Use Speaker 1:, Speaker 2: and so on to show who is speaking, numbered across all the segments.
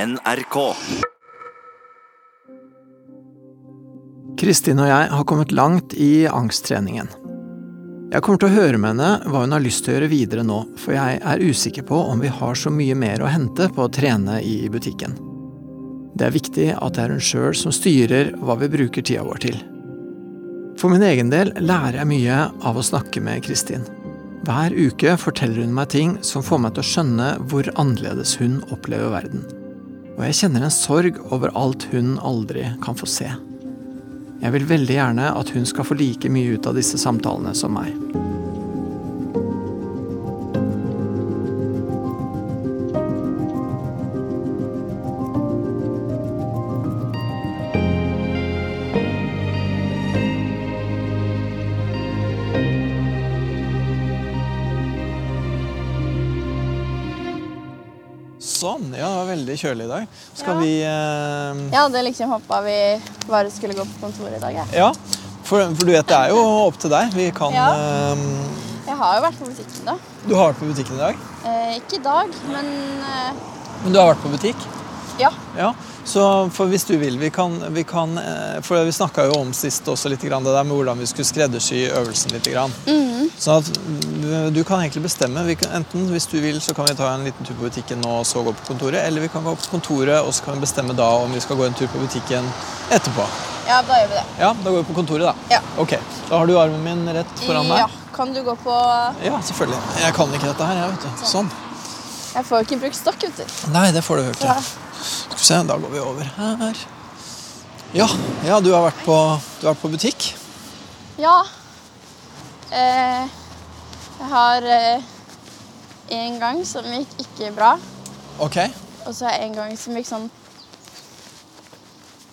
Speaker 1: NRK.
Speaker 2: Kristin og jeg har kommet langt i angsttreningen. Jeg kommer til å høre med henne hva hun har lyst til å gjøre videre nå, for jeg er usikker på om vi har så mye mer å hente på å trene i butikken. Det er viktig at det er hun sjøl som styrer hva vi bruker tida vår til. For min egen del lærer jeg mye av å snakke med Kristin. Hver uke forteller hun meg ting som får meg til å skjønne hvor annerledes hun opplever verden. Og jeg kjenner en sorg over alt hun aldri kan få se. Jeg vil veldig gjerne at hun skal få like mye ut av disse samtalene som meg. Sånn. Ja, det var veldig kjølig i dag. Skal
Speaker 3: Ja.
Speaker 2: vi eh,
Speaker 3: Jeg hadde liksom håpa vi bare skulle gå på kontoret i dag. Jeg,
Speaker 2: Ja, for, for du vet det er jo opp til deg. Vi kan
Speaker 3: Ja.
Speaker 2: eh,
Speaker 3: jeg har jo vært på butikken, da.
Speaker 2: Du har vært på butikken i dag,
Speaker 3: Eh, ikke i dag, men eh,
Speaker 2: men du har vært på butikk.
Speaker 3: ja.
Speaker 2: Ja, så for hvis du vil, vi kan, vi kan eh, For vi snakka jo om sist også litt grann, det der med hvordan vi skulle skreddersy øvelsen litt. Grann.
Speaker 3: Mhm.
Speaker 2: Sånn at mm, du kan egentlig bestemme. Vi kan, enten hvis du vil, så kan vi ta en liten tur på butikken nå og så gå på kontoret. Eller vi kan gå på kontoret, og så kan vi bestemme da om vi skal gå en tur på butikken etterpå.
Speaker 3: Ja, da gjør vi det.
Speaker 2: Ja, da går vi på kontoret, da.
Speaker 3: Ja.
Speaker 2: Ok, Da har du armen min rett foran deg.
Speaker 3: ja. Kan du gå på
Speaker 2: Ja, selvfølgelig. Jeg kan ikke dette her, jeg, vet du. Sånn.
Speaker 3: Jeg får jo ikke brukt stokk, vet du.
Speaker 2: Nei, det får du hørt, ja.
Speaker 3: Ja.
Speaker 2: Skal vi se, da går vi over her. Ja, ja du, har vært på, du har vært på butikk.
Speaker 3: Ja. Eh, jeg har eh, en gang som gikk ikke bra,
Speaker 2: Ok.
Speaker 3: og så har jeg en gang som gikk sånn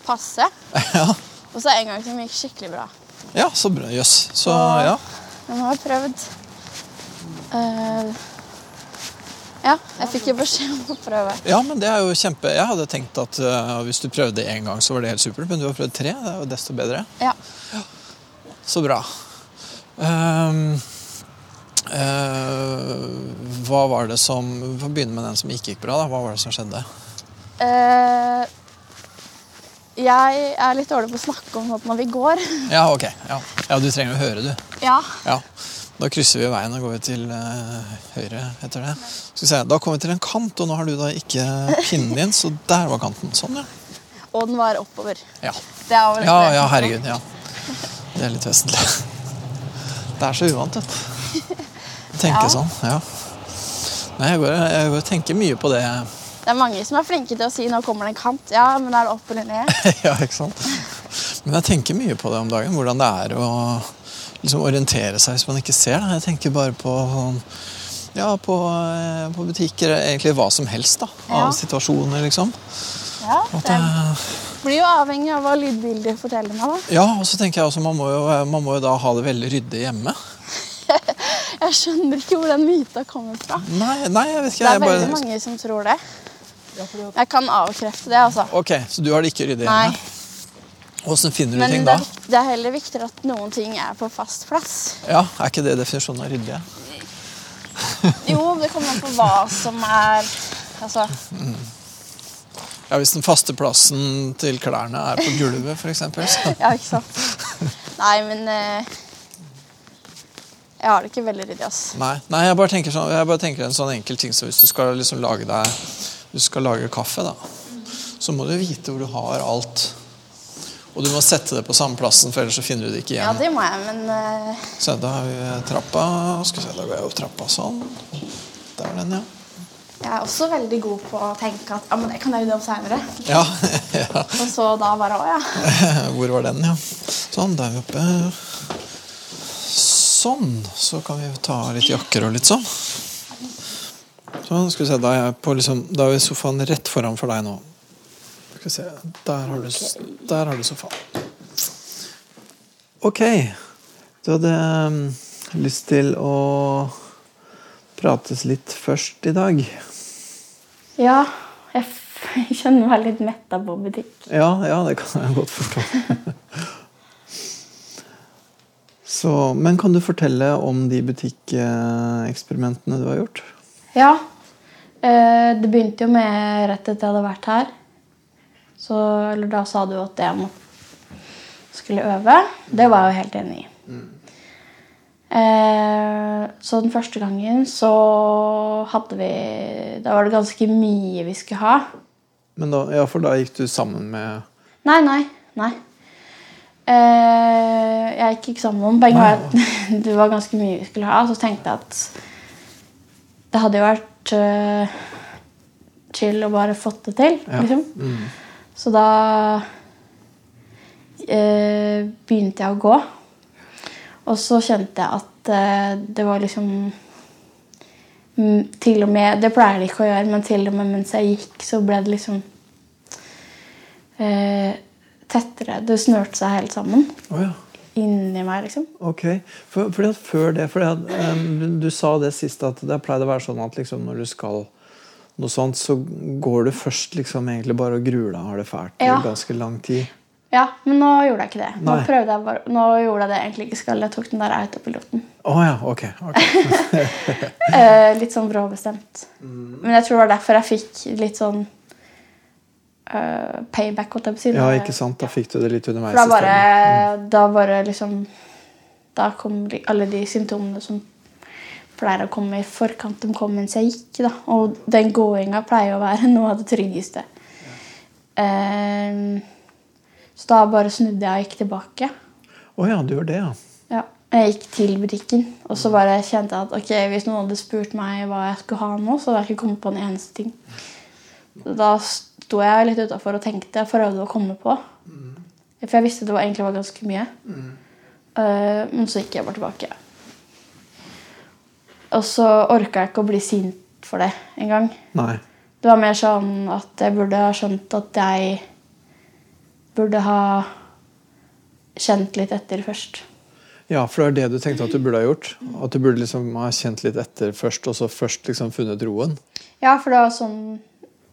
Speaker 3: passe.
Speaker 2: Ja,
Speaker 3: Og så er det en gang som gikk skikkelig bra.
Speaker 2: ja så bra. Jøss. Så ja.
Speaker 3: Men jeg har prøvd. Eh, ja, jeg fikk jo beskjed om å prøve.
Speaker 2: ja, men det er jo kjempe Jeg hadde tenkt at eh, hvis du prøvde én gang, så var det helt supert. Men du har prøvd tre. Det er jo desto bedre.
Speaker 3: Ja.
Speaker 2: Så bra. Ehm, eh, hva var det som Vi får begynne med den som ikke gikk bra. da Hva var det som skjedde?
Speaker 3: Eh, jeg er litt dårlig på å snakke om sånt når vi går.
Speaker 2: Ja, ok. Ja, ja du trenger å høre, du.
Speaker 3: Ja.
Speaker 2: Ja, da krysser vi veien og går vi til eh, høyre etter det. Skal vi se, Da kom vi til en kant, og nå har du da ikke pinnen din, så der var kanten. Sånn, ja.
Speaker 3: Og den var oppover.
Speaker 2: Ja,
Speaker 3: Det er vel
Speaker 2: ja, ja herregud. ja. Det er litt vesentlig. Det er så uvant, vet du. Å Tenke
Speaker 3: Ja.
Speaker 2: sånn. Ja. Nei, jeg går, jeg går og tenker mye på det.
Speaker 3: Det er mange som er flinke til å si 'nå kommer det en kant'. Ja, men er det opp eller ned?
Speaker 2: ja, ikke sant? Men jeg tenker mye på det om dagen, hvordan det er å liksom orientere seg hvis man ikke ser. Da. Jeg tenker bare på sånn ja, på, eh, på butikker, egentlig hva som helst da, av
Speaker 3: Ja.
Speaker 2: situasjoner, liksom.
Speaker 3: Ja,
Speaker 2: At,
Speaker 3: det
Speaker 2: eh,
Speaker 3: blir jo avhengig av hva lydbildet forteller meg. da.
Speaker 2: ja, og så tenker jeg også, man må, jo, eh, man må jo da ha det veldig ryddig hjemme.
Speaker 3: Jeg skjønner ikke hvor den myta kommer fra.
Speaker 2: Nei, nei, jeg vet
Speaker 3: Det
Speaker 2: ikke.
Speaker 3: er
Speaker 2: Jeg bare,
Speaker 3: veldig mange som tror det. Jeg kan avkrefte det, altså.
Speaker 2: ok, så du har det ikke ryddig
Speaker 3: Nei.
Speaker 2: hjemme. Åssen finner du
Speaker 3: Men
Speaker 2: ting da?
Speaker 3: det er, vikt- det er heller viktigere at noen ting er på fast plass.
Speaker 2: Ja, Er ikke det definisjonen av ryddig?
Speaker 3: Jo, det kommer an på hva som er Altså,
Speaker 2: Ja, Hvis den faste plassen til klærne er på gulvet, f.eks., så
Speaker 3: ja, ikke sant? Nei, men eh, Jeg har det ikke veldig ryddig, ass.
Speaker 2: Nei, nei jeg, bare tenker sånn, jeg bare tenker en sånn enkel ting som hvis du skal liksom lage deg Du skal lage kaffe, da. Så må du vite hvor du har alt. Og du må sette det på samme plassen, for ellers så finner du det ikke
Speaker 3: Ja,
Speaker 2: igjen.
Speaker 3: det må jeg, men eh,
Speaker 2: Se, da har vi trappa. Skal vi se, da går jeg opp trappa sånn. Der er den, ja.
Speaker 3: jeg er også veldig god på å tenke at ja, men det kan jeg rydde opp seinere.
Speaker 2: Ja, ja.
Speaker 3: Og så da bare å ja.
Speaker 2: Hvor var den, ja? Sånn, der vi oppe. Sånn. Så kan vi ta litt jakker og litt sånn. Sånn, skal vi se. Da er, jeg på liksom, da er vi sofaen rett foran for deg nå. Skal vi se. Der har du, s- der har du sofaen. Ok. Du hadde mm, lyst til å prates litt først i dag.
Speaker 3: Ja, jeg, f jeg kjenner meg litt metta på butikk.
Speaker 2: Ja, ja, det kan jeg godt forstå. Så, men kan du fortelle om de butikkeeksperimentene du har gjort?
Speaker 3: Ja. Eh, Det begynte jo med rett etter jeg hadde vært her. Så, eller da sa du at jeg må, skulle øve. Det var jeg jo helt enig i. Eh, Så den første gangen så hadde vi Da var det ganske mye vi skulle ha.
Speaker 2: Men da, ja, for da gikk du sammen med
Speaker 3: Nei, nei, nei. Eh, jeg gikk ikke sammen med ham. Poenget var at det var ganske mye vi skulle ha. Så tenkte jeg at det hadde jo vært eh, chill å bare fått det til.
Speaker 2: Ja.
Speaker 3: Liksom.
Speaker 2: Mm.
Speaker 3: Så da eh, begynte jeg å gå. Og så kjente jeg at eh, det var liksom mm, Til og med Det pleier det ikke å gjøre, men til og med mens jeg gikk, så ble det liksom eh, tettere. Det snørte seg helt sammen
Speaker 2: Å ja.
Speaker 3: inni meg, liksom.
Speaker 2: Ok. For, fordi at før det fordi at, em, du, du sa det sist at det pleide å være sånn at liksom, når du skal noe sånt, så går du først liksom egentlig bare og gruer deg og har det fælt i
Speaker 3: Ja.
Speaker 2: ganske lang tid.
Speaker 3: Ja, men nå gjorde jeg ikke det. Nå,
Speaker 2: Nei.
Speaker 3: prøvde jeg bare, nå gjorde jeg det jeg egentlig ikke skal. Jeg tok den der autopiloten.
Speaker 2: Å ja, ok. ok.
Speaker 3: Eh, litt sånn bråbestemt.
Speaker 2: Mm.
Speaker 3: Men jeg tror det var derfor jeg fikk litt sånn eh, payback. holdt jeg på å si.
Speaker 2: Ja, ikke sant? Da fikk du det litt underveis.
Speaker 3: For da
Speaker 2: i
Speaker 3: bare,
Speaker 2: stedet.
Speaker 3: da bare liksom Da kom de- alle de symptomene som pleier å komme i forkant, de kom mens jeg gikk. da. Og den gåinga pleier å være noe av det tryggeste. Eh, så da bare snudde jeg og gikk tilbake.
Speaker 2: Å ja, du gjør det, ja.
Speaker 3: Ja. Jeg gikk til butikken, og så bare kjente jeg at ok, hvis noen hadde spurt meg hva jeg skulle ha nå, så hadde jeg ikke kommet på en eneste ting. Da sto jeg litt utafor og tenkte, prøvde å komme på. For jeg visste det var, egentlig var ganske mye. Eh, men så gikk jeg bare tilbake. Og så orka jeg ikke å bli sint for det engang.
Speaker 2: Nei.
Speaker 3: Det var mer sånn at jeg burde ha skjønt at jeg burde ha kjent litt etter først.
Speaker 2: Ja, for det er det du tenkte at du burde ha gjort. At du burde liksom ha kjent litt etter først, og så først liksom funnet roen.
Speaker 3: Ja, for det var sånn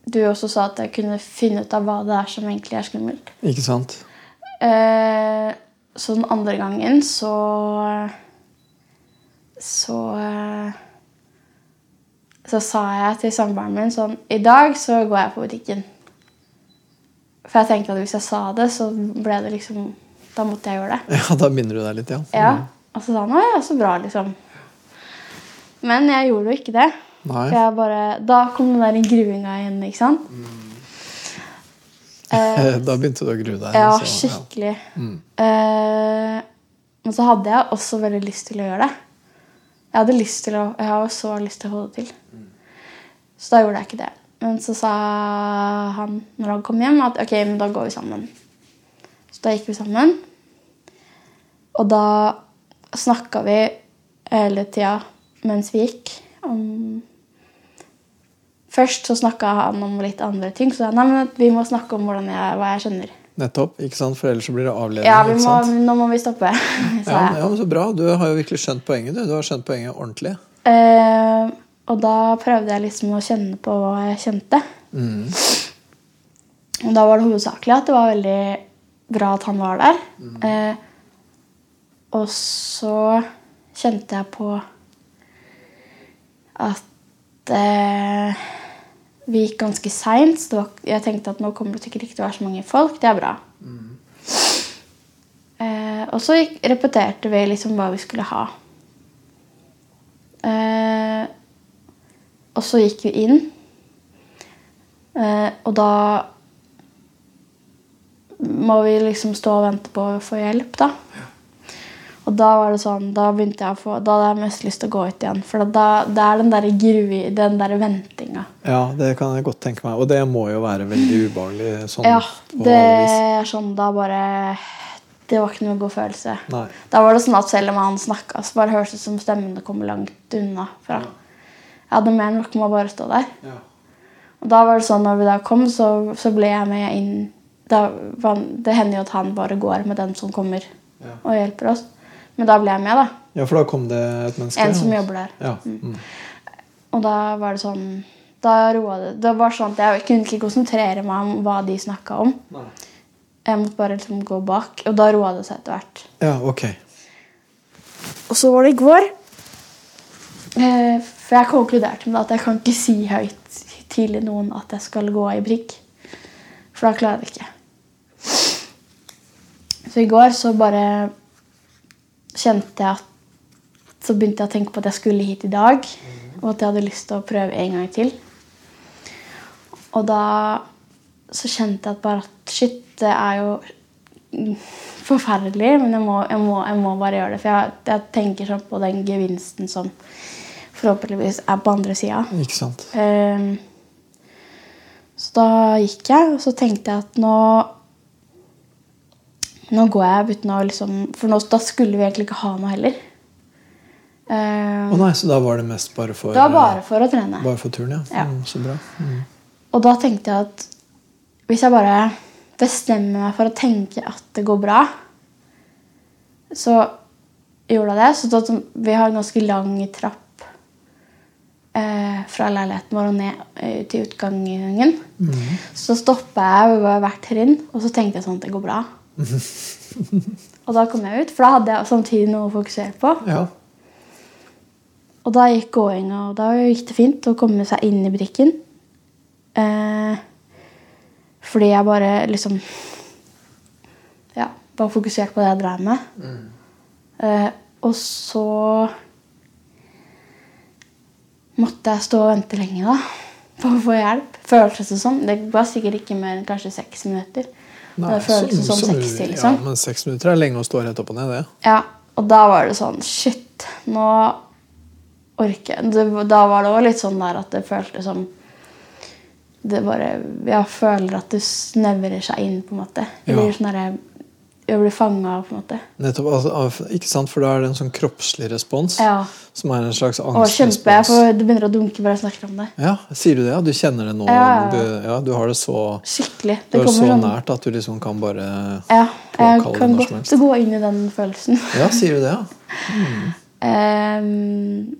Speaker 3: du også sa at jeg kunne finne ut av hva det er som egentlig er skummelt.
Speaker 2: Ikke sant?
Speaker 3: Eh, så den andre gangen så Så eh, Så sa jeg til samboeren min sånn I dag så går jeg på butikken. For jeg tenkte at hvis jeg sa det, så ble det liksom Da måtte jeg gjøre det.
Speaker 2: Ja, da minner du deg litt, ja.
Speaker 3: Ja, Og så sa han å ja, så bra, liksom. Men jeg gjorde jo ikke det. For
Speaker 2: Nei.
Speaker 3: jeg bare, da kom den der gruinga igjen, ikke sant? Eh,
Speaker 2: Da begynte du å grue deg.
Speaker 3: ja,
Speaker 2: så-
Speaker 3: skikkelig. Eh, men så hadde jeg også veldig lyst til å gjøre det. Jeg hadde lyst til å, jeg har jo så lyst til å få det til. Så da gjorde jeg ikke det. Men så sa han når han kom hjem, at ok, men da går vi sammen. Så da gikk vi sammen. Og da snakka vi hele tida mens vi gikk om Først så snakka han om litt andre ting. Så sa han, nei, men vi må snakke om hvordan jeg, hva jeg skjønner.
Speaker 2: Nettopp. ikke sant? For ellers så blir det avledning.
Speaker 3: Ja, vi
Speaker 2: ikke
Speaker 3: må,
Speaker 2: sant?
Speaker 3: nå må vi stoppe, sa
Speaker 2: Ja,
Speaker 3: jeg.
Speaker 2: ja, men Så bra. Du har jo virkelig skjønt poenget. Du Du har skjønt poenget ordentlig.
Speaker 3: Eh, og da prøvde jeg liksom å kjenne på hva jeg kjente. Og da var det hovedsakelig at det var veldig bra at han var der. Eh, og så kjente jeg på at eh, vi gikk ganske seint. så det var- Jeg tenkte at nå kommer det sikkert ikke til å være så mange folk. Det er bra. Eh, og så gikk, repeterte vi liksom hva vi skulle ha. Eh, og så gikk vi inn. Eh, og da må vi liksom stå og vente på å få hjelp, da. Og da var det sånn, da begynte jeg å få, da hadde jeg mest lyst til å gå ut igjen. For da, det er den der grui, den der ventinga.
Speaker 2: Ja, det kan jeg godt tenke meg. Og det må jo være veldig ubehagelig sånn
Speaker 3: Ja,
Speaker 2: på
Speaker 3: det
Speaker 2: alle vis.
Speaker 3: er sånn, da bare Det var ikke noe god følelse.
Speaker 2: Nei.
Speaker 3: Da var det sånn at selv om han snakka, så bare hørtes det ut som stemmene kom langt unna fra. Jeg hadde mer enn nok med å bare stå der.
Speaker 2: Ja.
Speaker 3: Og da var det sånn, når vi da kom, så, så ble jeg med inn. Da, var han- det hender jo at han bare går med den som kommer
Speaker 2: Ja.
Speaker 3: og hjelper oss. Men da ble jeg med, da.
Speaker 2: ja, for da kom det et menneske.
Speaker 3: En som
Speaker 2: ja.
Speaker 3: jobber der.
Speaker 2: Ja. Mm.
Speaker 3: Og da var det sånn Da roa det Det var sånn at jeg kunne ikke konsentrere meg om hva de snakka om.
Speaker 2: mm.
Speaker 3: Jeg måtte bare liksom gå bak, og da roa det seg etter hvert.
Speaker 2: ja, ok.
Speaker 3: Og så var det i går. Eh, For jeg konkluderte med at jeg kan ikke si høyt til noen at jeg skal gå i prikk. For da klarer jeg det ikke. Så i går så bare kjente jeg at Så begynte jeg å tenke på at jeg skulle hit i dag. Og at jeg hadde lyst til å prøve en gang til. Og da så kjente jeg at bare at shit, det er jo mm, forferdelig, men jeg må, jeg må, jeg må bare gjøre det. For jeg, jeg tenker sånn på den gevinsten som forhåpentligvis er på andre sida.
Speaker 2: Ikke sant.
Speaker 3: Ehm, så da gikk jeg, og så tenkte jeg at nå Nå går jeg uten å liksom For nå, da skulle vi egentlig ikke ha noe heller. Ehm,
Speaker 2: Å nei, så da var det mest bare for,
Speaker 3: det var bare for å trene.
Speaker 2: bare for turen, ja.
Speaker 3: Ja.
Speaker 2: Mm, så bra. Mm.
Speaker 3: Og da tenkte jeg at hvis jeg bare bestemmer meg for å tenke at det går bra, så gjorde jeg det. Så da, vi har en ganske lang trapp eh, fra leiligheten vår og ned eh, til utgangen. Så stoppa jeg ved hvert trinn, og så tenkte jeg sånn at det går bra. og da kom jeg ut, for da hadde jeg samtidig noe å fokusere på.
Speaker 2: Ja.
Speaker 3: Og da gikk gåinga, og da gikk det fint å komme seg inn i butikken. Eh, fordi jeg bare liksom Ja, bare fokusert på det jeg drev med.
Speaker 2: Mm.
Speaker 3: Eh, og så måtte jeg stå og vente lenge da, på å få hjelp. Føltes det som. Det var sikkert ikke mer enn kanskje seks minutter.
Speaker 2: Nei,
Speaker 3: det føltes
Speaker 2: så-
Speaker 3: som
Speaker 2: så-
Speaker 3: 60, liksom.
Speaker 2: Ja, men seks minutter er lenge å stå rett opp og ned, det.
Speaker 3: Ja, og da var det sånn Shit, nå orker jeg det, Da var det også litt sånn der at det føltes som Det bare Jeg føler at det snevrer seg inn, på en måte.
Speaker 2: Ja.
Speaker 3: Jeg blir sånn derre Jeg blir fanga, på en måte.
Speaker 2: Nettopp, altså, av- ikke sant? For da er det en sånn kroppslig respons
Speaker 3: Ja.
Speaker 2: som er en slags
Speaker 3: Og kjempe, jeg
Speaker 2: angstrespons.
Speaker 3: får, Det begynner å dunke bare jeg snakker om det.
Speaker 2: Ja, sier du det? Ja, du kjenner det nå?
Speaker 3: Ja, ja, ja.
Speaker 2: Du, ja, du har det så,
Speaker 3: Skikkelig.
Speaker 2: du
Speaker 3: Det
Speaker 2: har det så
Speaker 3: kommer sånn
Speaker 2: nært at du liksom kan bare
Speaker 3: Ja, jeg
Speaker 2: påkalle det
Speaker 3: kan
Speaker 2: når som
Speaker 3: godt
Speaker 2: helst.
Speaker 3: gå inn i den følelsen.
Speaker 2: Ja, sier du det, ja?
Speaker 3: Ehm,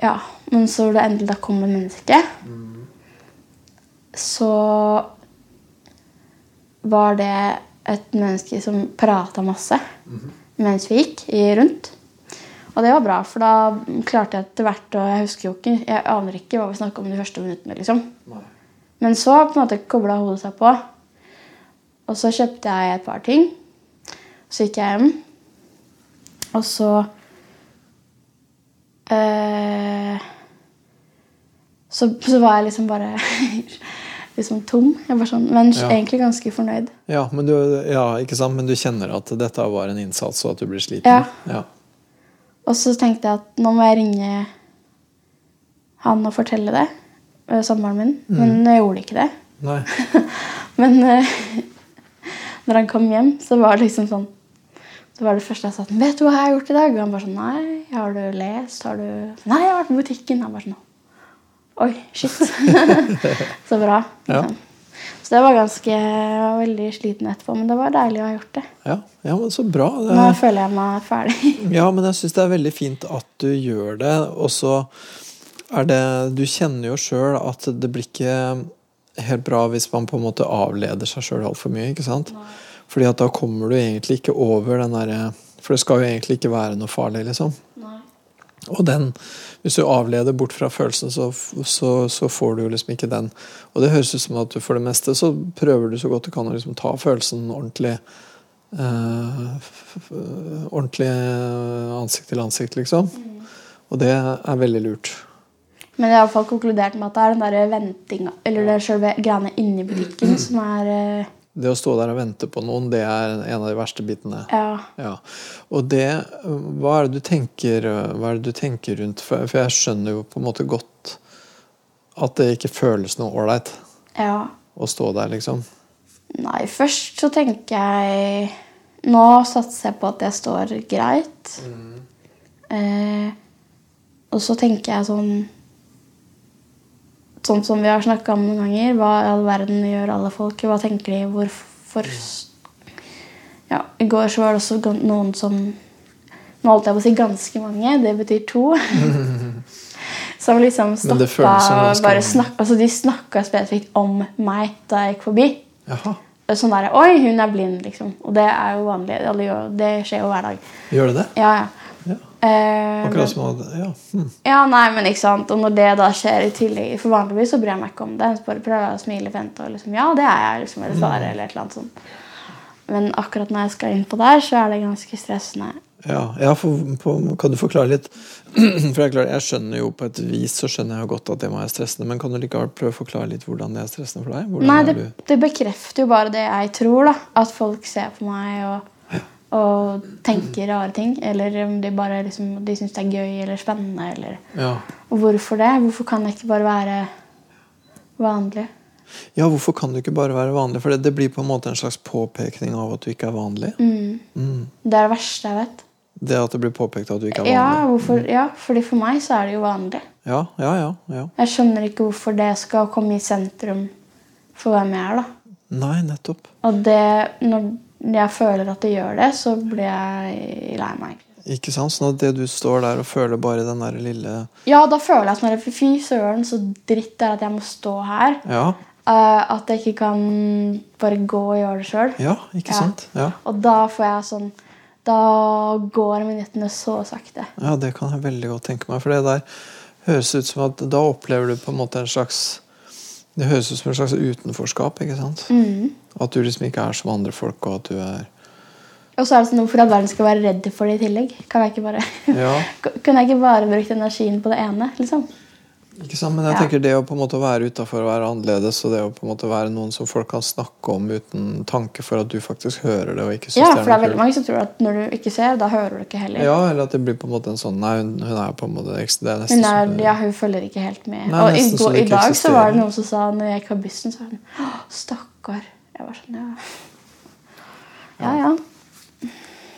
Speaker 3: ja, men så det endelig da kom et menneske, så var det et menneske som prata masse mens vi gikk i rundt. Og det var bra, for da klarte jeg etter hvert og Jeg husker jo ikke, jeg aner ikke hva vi snakka om de første minuttene. liksom. Men så på en måte kobla hodet seg på. Og så kjøpte jeg et par ting. Så gikk jeg hjem. Og så eh, så, så var jeg liksom bare liksom tom. Jeg var sånn, men
Speaker 2: Ja.
Speaker 3: egentlig ganske fornøyd.
Speaker 2: Ja, men du, ja, ikke sant? Men du kjenner at dette var en innsats, og at du blir sliten?
Speaker 3: Ja.
Speaker 2: ja.
Speaker 3: Og så tenkte jeg at nå må jeg ringe han og fortelle det. eh, Samboeren min. Men jeg gjorde ikke det.
Speaker 2: Nei.
Speaker 3: Men eh, når han kom hjem, så var det liksom sånn Så var det første jeg sa til ham, 'Vet du hva jeg har gjort i dag?' Og han bare sånn 'Nei, har du lest? Har du 'Nei, jeg har vært på butikken.' Han bare sånn Oi, shit. så bra.
Speaker 2: Ja.
Speaker 3: liksom. Så det var ganske Jeg var veldig sliten etterpå, men det var deilig å ha gjort det.
Speaker 2: Ja, ja men så bra. Det
Speaker 3: Nå
Speaker 2: er,
Speaker 3: føler jeg meg ferdig.
Speaker 2: ja, men jeg syns det er veldig fint at du gjør det. Og så er det Du kjenner jo sjøl at det blir ikke helt bra hvis man på en måte avleder seg sjøl altfor mye, ikke sant? Fordi at da kommer du egentlig ikke over den derre For det skal jo egentlig ikke være noe farlig, liksom. Og den, hvis du avleder bort fra følelsen, så, så, så får du jo liksom ikke den. Og det høres ut som at du for det meste så prøver du så godt du kan å liksom ta følelsen ordentlig eh, f- f- Ordentlig eh, ansikt til ansikt, liksom. Og det er veldig lurt.
Speaker 3: Men jeg har i hvert fall konkludert med at det er den der ventinga, eller det er selve greiene inni butikken, som er eh,
Speaker 2: Det å stå der og vente på noen, det er en av de verste bitene.
Speaker 3: Ja.
Speaker 2: Ja. Og det øh, Hva er det du tenker, øh, hva er det du tenker rundt For for jeg skjønner jo på en måte godt at det ikke føles noe ålreit
Speaker 3: ja.
Speaker 2: å stå der, liksom.
Speaker 3: Nei, først så tenker jeg Nå satser jeg på at jeg står greit. Eh, og så tenker jeg sånn Sånn som vi har snakka om noen ganger. Hva i all verden gjør alle folk? Hva tenker de? Hvorfor s-
Speaker 2: Mm.
Speaker 3: Ja, i går så var det også gan- noen som Nå holdt jeg på å si ganske mange. Det betyr to. som liksom
Speaker 2: Men det føles som
Speaker 3: stoppa og
Speaker 2: ganske
Speaker 3: bare
Speaker 2: mange.
Speaker 3: snakka Altså, de snakka spesifikt om meg da jeg gikk forbi
Speaker 2: Jaha.
Speaker 3: sånn der, Oi, hun er blind, liksom. Og det er jo vanlig. Alle gjør- Det skjer jo hver dag.
Speaker 2: Gjør det det?
Speaker 3: Ja, ja.
Speaker 2: Ja.
Speaker 3: Eh,
Speaker 2: Akkurat som at Ja. Mm.
Speaker 3: Ja, nei, men ikke sant. Og når det da skjer i tillegg For vanligvis så bryr jeg meg ikke om det. Så bare prøver jeg å smile pent og liksom Ja, det er jeg, liksom. Eller svare,
Speaker 2: Mm.
Speaker 3: eller et eller annet sånt. Men akkurat når jeg skal inn på der, så er det ganske stressende.
Speaker 2: Ja, ja for, på, Kan du forklare litt? For jeg, klarer, jeg skjønner jo på et vis så skjønner jeg jo godt at det må være stressende, men kan du likevel prøve å forklare litt hvordan det er stressende for deg? Hvordan
Speaker 3: Nei,
Speaker 2: er
Speaker 3: det, det bekrefter jo bare det jeg tror, da. At folk ser på meg og, og tenker rare ting. Eller om de bare liksom, de syns det er gøy eller spennende. Eller.
Speaker 2: du, ja.
Speaker 3: Og hvorfor det? Hvorfor kan jeg ikke bare være vanlig?
Speaker 2: ja, hvorfor kan du ikke bare være vanlig? For det, det blir på en måte en slags påpekning av at du ikke er vanlig. Mm.
Speaker 3: Det er det verste jeg vet.
Speaker 2: Det at det blir påpekt at du ikke er
Speaker 3: Ja,
Speaker 2: vanlig.
Speaker 3: hvorfor, ja, fordi for meg så er det jo vanlig.
Speaker 2: Ja, ja, ja. ja.
Speaker 3: Jeg skjønner ikke hvorfor det skal komme i sentrum for hvem jeg er. da.
Speaker 2: Nei, nettopp.
Speaker 3: Og det, når jeg føler at det gjør det, så blir jeg lei meg.
Speaker 2: Ikke sant? Sånn at det du står der og føler bare den der lille
Speaker 3: Ja, da føler jeg sånn at fy søren, så dritt det er at jeg må stå her.
Speaker 2: Ja,
Speaker 3: Eh, at jeg ikke kan bare gå og gjøre det sjøl.
Speaker 2: ja ikke
Speaker 3: Ja.
Speaker 2: sant? Ja.
Speaker 3: Og da får jeg sånn Da går minuttene så sakte.
Speaker 2: Ja, det kan jeg veldig godt tenke meg. For det der høres ut som at da opplever du på en måte en slags Det høres ut som en slags utenforskap. ikke sant?
Speaker 3: Mm.
Speaker 2: At du liksom ikke er som andre folk, og at du er
Speaker 3: Og så er det sånn, hvorfor i all verden skal jeg være redd for det i tillegg? Kan jeg ikke bare,
Speaker 2: Ja.
Speaker 3: Kunne jeg ikke bare brukt energien på det ene? liksom?
Speaker 2: ikke sant? Men jeg
Speaker 3: Ja.
Speaker 2: tenker det å på en måte være utafor og være annerledes, og det å på en måte være noen som folk kan snakke om uten tanke for at du faktisk hører det og ikke syns
Speaker 3: Ja, for det
Speaker 2: noe
Speaker 3: er veldig
Speaker 2: kult.
Speaker 3: mange som tror at når du ikke ser, da hører du ikke heller.
Speaker 2: Ja, eller at det blir på en måte en sånn Nei, hun, hun er på en måte ekst- Det er nesten
Speaker 3: Hun, er,
Speaker 2: som-
Speaker 3: ja, hun følger ikke helt med.
Speaker 2: Nei,
Speaker 3: og i,
Speaker 2: nesten så
Speaker 3: går-
Speaker 2: det
Speaker 3: i
Speaker 2: ikke
Speaker 3: dag så var
Speaker 2: eksisterer.
Speaker 3: det noen som sa når jeg gikk av bussen, så var det sånn «Åh, Stakkar. Jeg var sånn, ja. Ja, ja.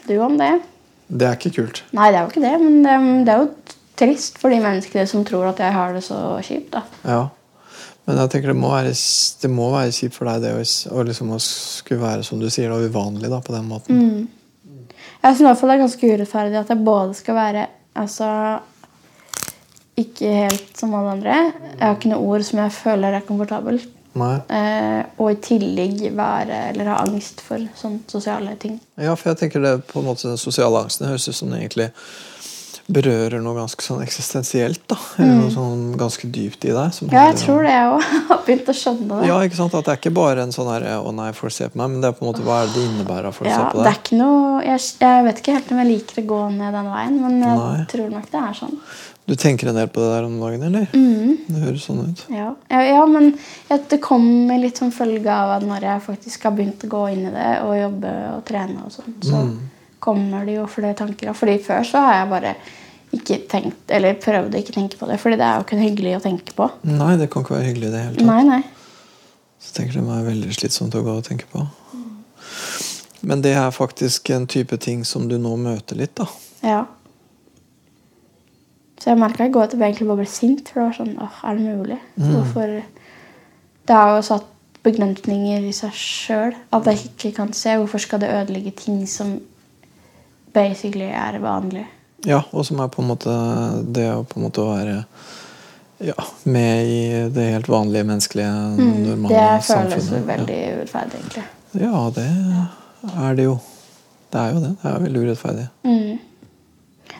Speaker 3: Du om det.
Speaker 2: Det er ikke kult.
Speaker 3: Nei, det er jo ikke det, men det, det er jo trist for de menneskene som tror at jeg har det så kjipt. da.
Speaker 2: Ja. Men jeg tenker det må være, det må være kjipt for deg det å, s- å liksom å skulle være som du sier, da, uvanlig da, på den måten.
Speaker 3: Mm. Jeg syns i hvert fall det er ganske urettferdig at jeg både skal være altså, ikke helt som alle andre. Jeg har ikke noe ord som jeg føler er komfortabelt.
Speaker 2: Nei.
Speaker 3: Eh, og i tillegg være eller ha angst for sånne sosiale ting.
Speaker 2: Ja, for jeg tenker det på en måte den sosiale angsten høres ut som den egentlig berører noe ganske sånn eksistensielt. da, Eller noe sånn ganske dypt i deg. som
Speaker 3: Mm. Ja, jeg
Speaker 2: handler om-
Speaker 3: tror det jeg òg. Har begynt å skjønne det.
Speaker 2: Ja, ikke sant? At det er ikke bare en sånn her, 'Å nei, folk ser på meg', men det er på en måte hva er det det innebærer at folk
Speaker 3: Ja,
Speaker 2: ser på
Speaker 3: det er
Speaker 2: deg?
Speaker 3: ikke noe, jeg, jeg vet ikke helt om jeg liker å gå ned den veien, men jeg
Speaker 2: Nei.
Speaker 3: tror nok det er sånn.
Speaker 2: Du tenker en del på det der om dagen, eller?
Speaker 3: Mm.
Speaker 2: Det høres sånn ut.
Speaker 3: Ja, ja, ja men jeg- det kommer litt som følge av at når jeg faktisk har begynt å gå inn i det og jobbe og trene, og sånn, så kommer det jo flere tanker. Og Fordi før så har jeg bare ikke tenkt, eller prøvd å ikke tenke på det, fordi det er jo ikke hyggelig å tenke på.
Speaker 2: Nei, det kan ikke være hyggelig i det hele tatt.
Speaker 3: Nei, nei.
Speaker 2: Så tenker jeg det er veldig slitsomt å gå og tenke på. Men det er faktisk en type ting som du nå møter litt, da.
Speaker 3: Ja. Så jeg merka i går at jeg egentlig bare ble sint. For det var sånn Åh, er det mulig? Hvorfor Det har jo satt begrensninger i seg sjøl. At jeg ikke kan se. Hvorfor skal det ødelegge ting som basically er vanlig?
Speaker 2: Ja, og som er på en måte det å på en måte være ja, med i det helt vanlige menneskelige, normale
Speaker 3: Mm, Det føles
Speaker 2: samfunnet.
Speaker 3: veldig urettferdig, egentlig.
Speaker 2: Ja, det er det jo. Det er jo det. Det er veldig urettferdig.
Speaker 3: Mm.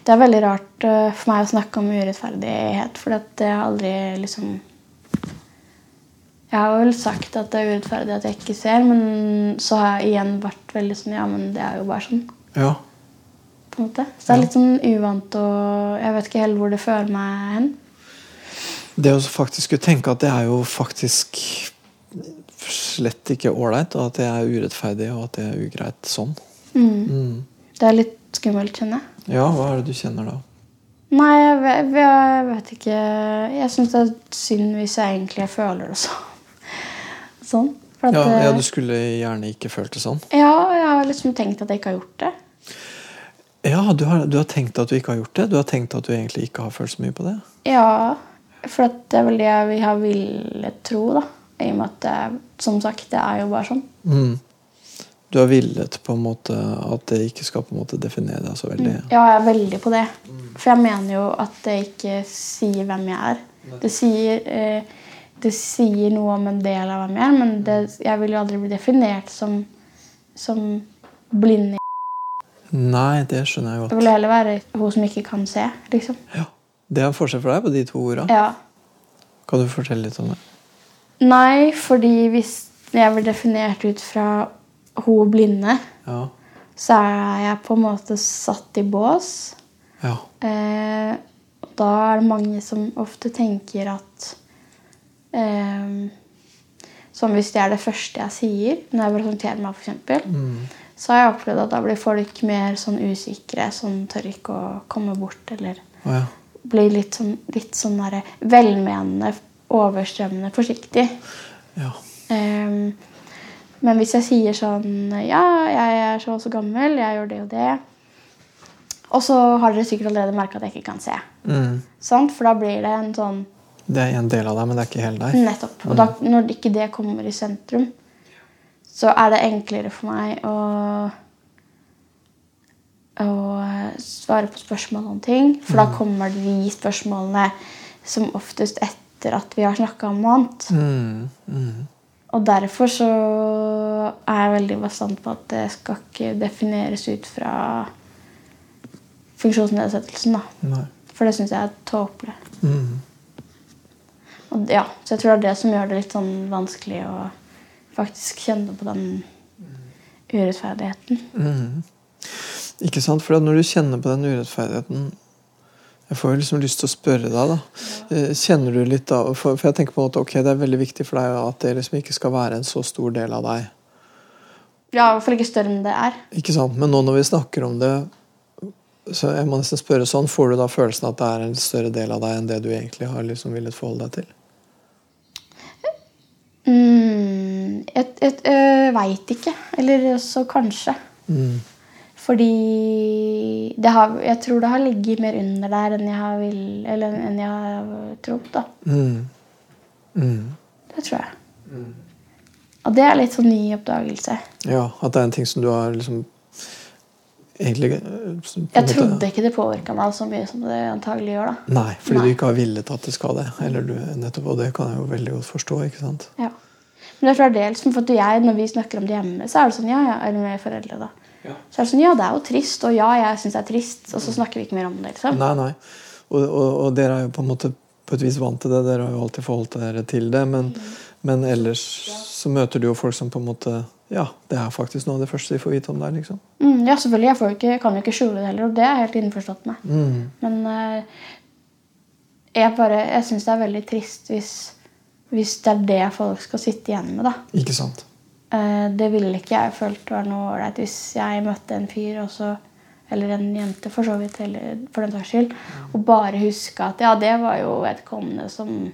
Speaker 3: Det er veldig rart eh, for meg å snakke om urettferdighet, for at jeg har aldri liksom Jeg har vel sagt at det er urettferdig at jeg ikke ser, men så har jeg igjen vært veldig sånn Ja, men det er jo bare sånn.
Speaker 2: Ja.
Speaker 3: på en måte. Så det er litt sånn uvant, og jeg vet ikke helt hvor det fører meg hen.
Speaker 2: Det å faktisk skulle tenke at det er jo faktisk slett ikke ålreit, og at det er urettferdig, og at det er ugreit sånn. Mm.
Speaker 3: Det er litt skummelt, kjenner jeg.
Speaker 2: Ja, hva er det du kjenner da?
Speaker 3: Nei, jeg vet, jeg vet ikke Jeg syns det er synd hvis jeg egentlig føler det sånn. sånn. For at,
Speaker 2: Ja, ja,
Speaker 3: eh,
Speaker 2: du skulle gjerne ikke følt det sånn.
Speaker 3: ja, jeg har liksom tenkt at jeg ikke har gjort det.
Speaker 2: Ja, du har, du har tenkt at du ikke har gjort det? Du har tenkt at du egentlig ikke har følt så mye på det?
Speaker 3: Ja, for at det er vel det jeg vil- har villet tro, da. I og med at det, som sagt, det er jo bare sånn.
Speaker 2: Mm. Du har villet på en måte at det ikke skal på en måte definere deg så veldig?
Speaker 3: Ja, jeg er veldig på det. For jeg mener jo at det ikke sier hvem jeg er. Det sier, eh, det sier noe om en del av hvem jeg er, men det, jeg vil jo aldri bli definert som, som blind.
Speaker 2: Nei, det skjønner jeg
Speaker 3: Jeg
Speaker 2: godt.
Speaker 3: vil heller være hun som ikke kan se, liksom.
Speaker 2: Ja. Det er forskjell for deg på de to orda.
Speaker 3: Ja.
Speaker 2: Kan du fortelle litt om det?
Speaker 3: Nei, fordi hvis jeg blir definert ut fra hun blinde,
Speaker 2: Ja.
Speaker 3: så er jeg på en måte satt i bås.
Speaker 2: ja.
Speaker 3: Eh, og da er det mange som ofte tenker at eh, Som hvis det er det første jeg sier når jeg presenterer meg, f.eks. Så har jeg opplevd at da blir folk mer sånn usikre, sånn tør ikke å komme bort eller
Speaker 2: Å ja.
Speaker 3: blir litt sånn, litt sånn derre velmenende, overstrømmende forsiktig.
Speaker 2: Ja.
Speaker 3: Ehm, men hvis jeg sier sånn Ja, jeg er så og så gammel, jeg gjør det og det. Og så har dere sikkert allerede merka at jeg ikke kan se.
Speaker 2: Mm.
Speaker 3: Sant? For da blir det en sånn
Speaker 2: Det er en del av deg, men det er ikke hele deg.
Speaker 3: Nettopp. Og da, når ikke det kommer i sentrum, så er det enklere for meg å å eh, svare på spørsmål om ting. For da kommer de spørsmålene som oftest etter at vi har snakka om noe annet.
Speaker 2: Mm. Mm.
Speaker 3: Og derfor så er jeg veldig bastant på at det skal ikke defineres ut fra funksjonsnedsettelsen, da.
Speaker 2: Nei.
Speaker 3: For det syns jeg er tåpelig.
Speaker 2: Mm.
Speaker 3: Og ja, så jeg tror det er det som gjør det litt sånn vanskelig å faktisk kjenne på den urettferdigheten.
Speaker 2: Mm. Ikke sant? For at når du kjenner på den urettferdigheten Jeg får jo liksom lyst til å spørre deg, da. Eh, Kjenner du litt da For, for jeg tenker på en måte ok, det er veldig viktig for deg at det liksom ikke skal være en så stor del av deg.
Speaker 3: Ja, i hvert fall ikke større enn det er.
Speaker 2: Ikke sant? Men nå når vi snakker om det, så jeg må nesten spørre sånn Får du da følelsen at det er en større del av deg enn det du egentlig har liksom villet forholde deg til?
Speaker 3: Mm, jeg jeg, jeg veit ikke. Eller så kanskje.
Speaker 2: Mm.
Speaker 3: Fordi det har, jeg tror det har ligget mer under der enn jeg har, vil, eller enn jeg har trodd. da.
Speaker 2: Mm. Mm.
Speaker 3: Det tror jeg. Og det er litt sånn ny oppdagelse.
Speaker 2: Ja, at det er en ting som du har liksom Egentlig eh, på en
Speaker 3: Jeg
Speaker 2: måte-
Speaker 3: trodde ikke det påvirka meg så mye som det antagelig gjør. da.
Speaker 2: Nei, fordi
Speaker 3: Nei.
Speaker 2: du ikke har villet at det skal det. Eller du, nettopp, og det kan jeg jo veldig godt forstå. ikke sant?
Speaker 3: Ja. Men jeg tror det er liksom, for at jeg, Når vi snakker om det hjemme, så er det sånn ja, ja, eller med foreldre da. Så er det sånn, ja, det er jo trist, og ja, jeg syns det er trist. Og så snakker vi ikke mer om det. liksom.
Speaker 2: Nei, nei. Og, og, og dere er jo på en måte på et vis vant til det. Dere har jo alltid forholdt dere til det. Men, men ellers så møter du jo folk som på en måte Ja, det er faktisk noe av det første de får vite om deg. liksom.
Speaker 3: Mm, ja, selvfølgelig. Jeg får jo ikke, kan jo ikke skjule det heller, og det er jeg helt innforstått med.
Speaker 2: Mm.
Speaker 3: Men eh, jeg bare, jeg syns det er veldig trist hvis, hvis det er det folk skal sitte igjen med. da.
Speaker 2: Ikke sant?
Speaker 3: Eh, det ville ikke jeg følt var noe ålreit hvis jeg møtte en fyr og så eller en jente, for så vidt, eller for den saks skyld. Og bare huske at ja, det var jo vedkommende som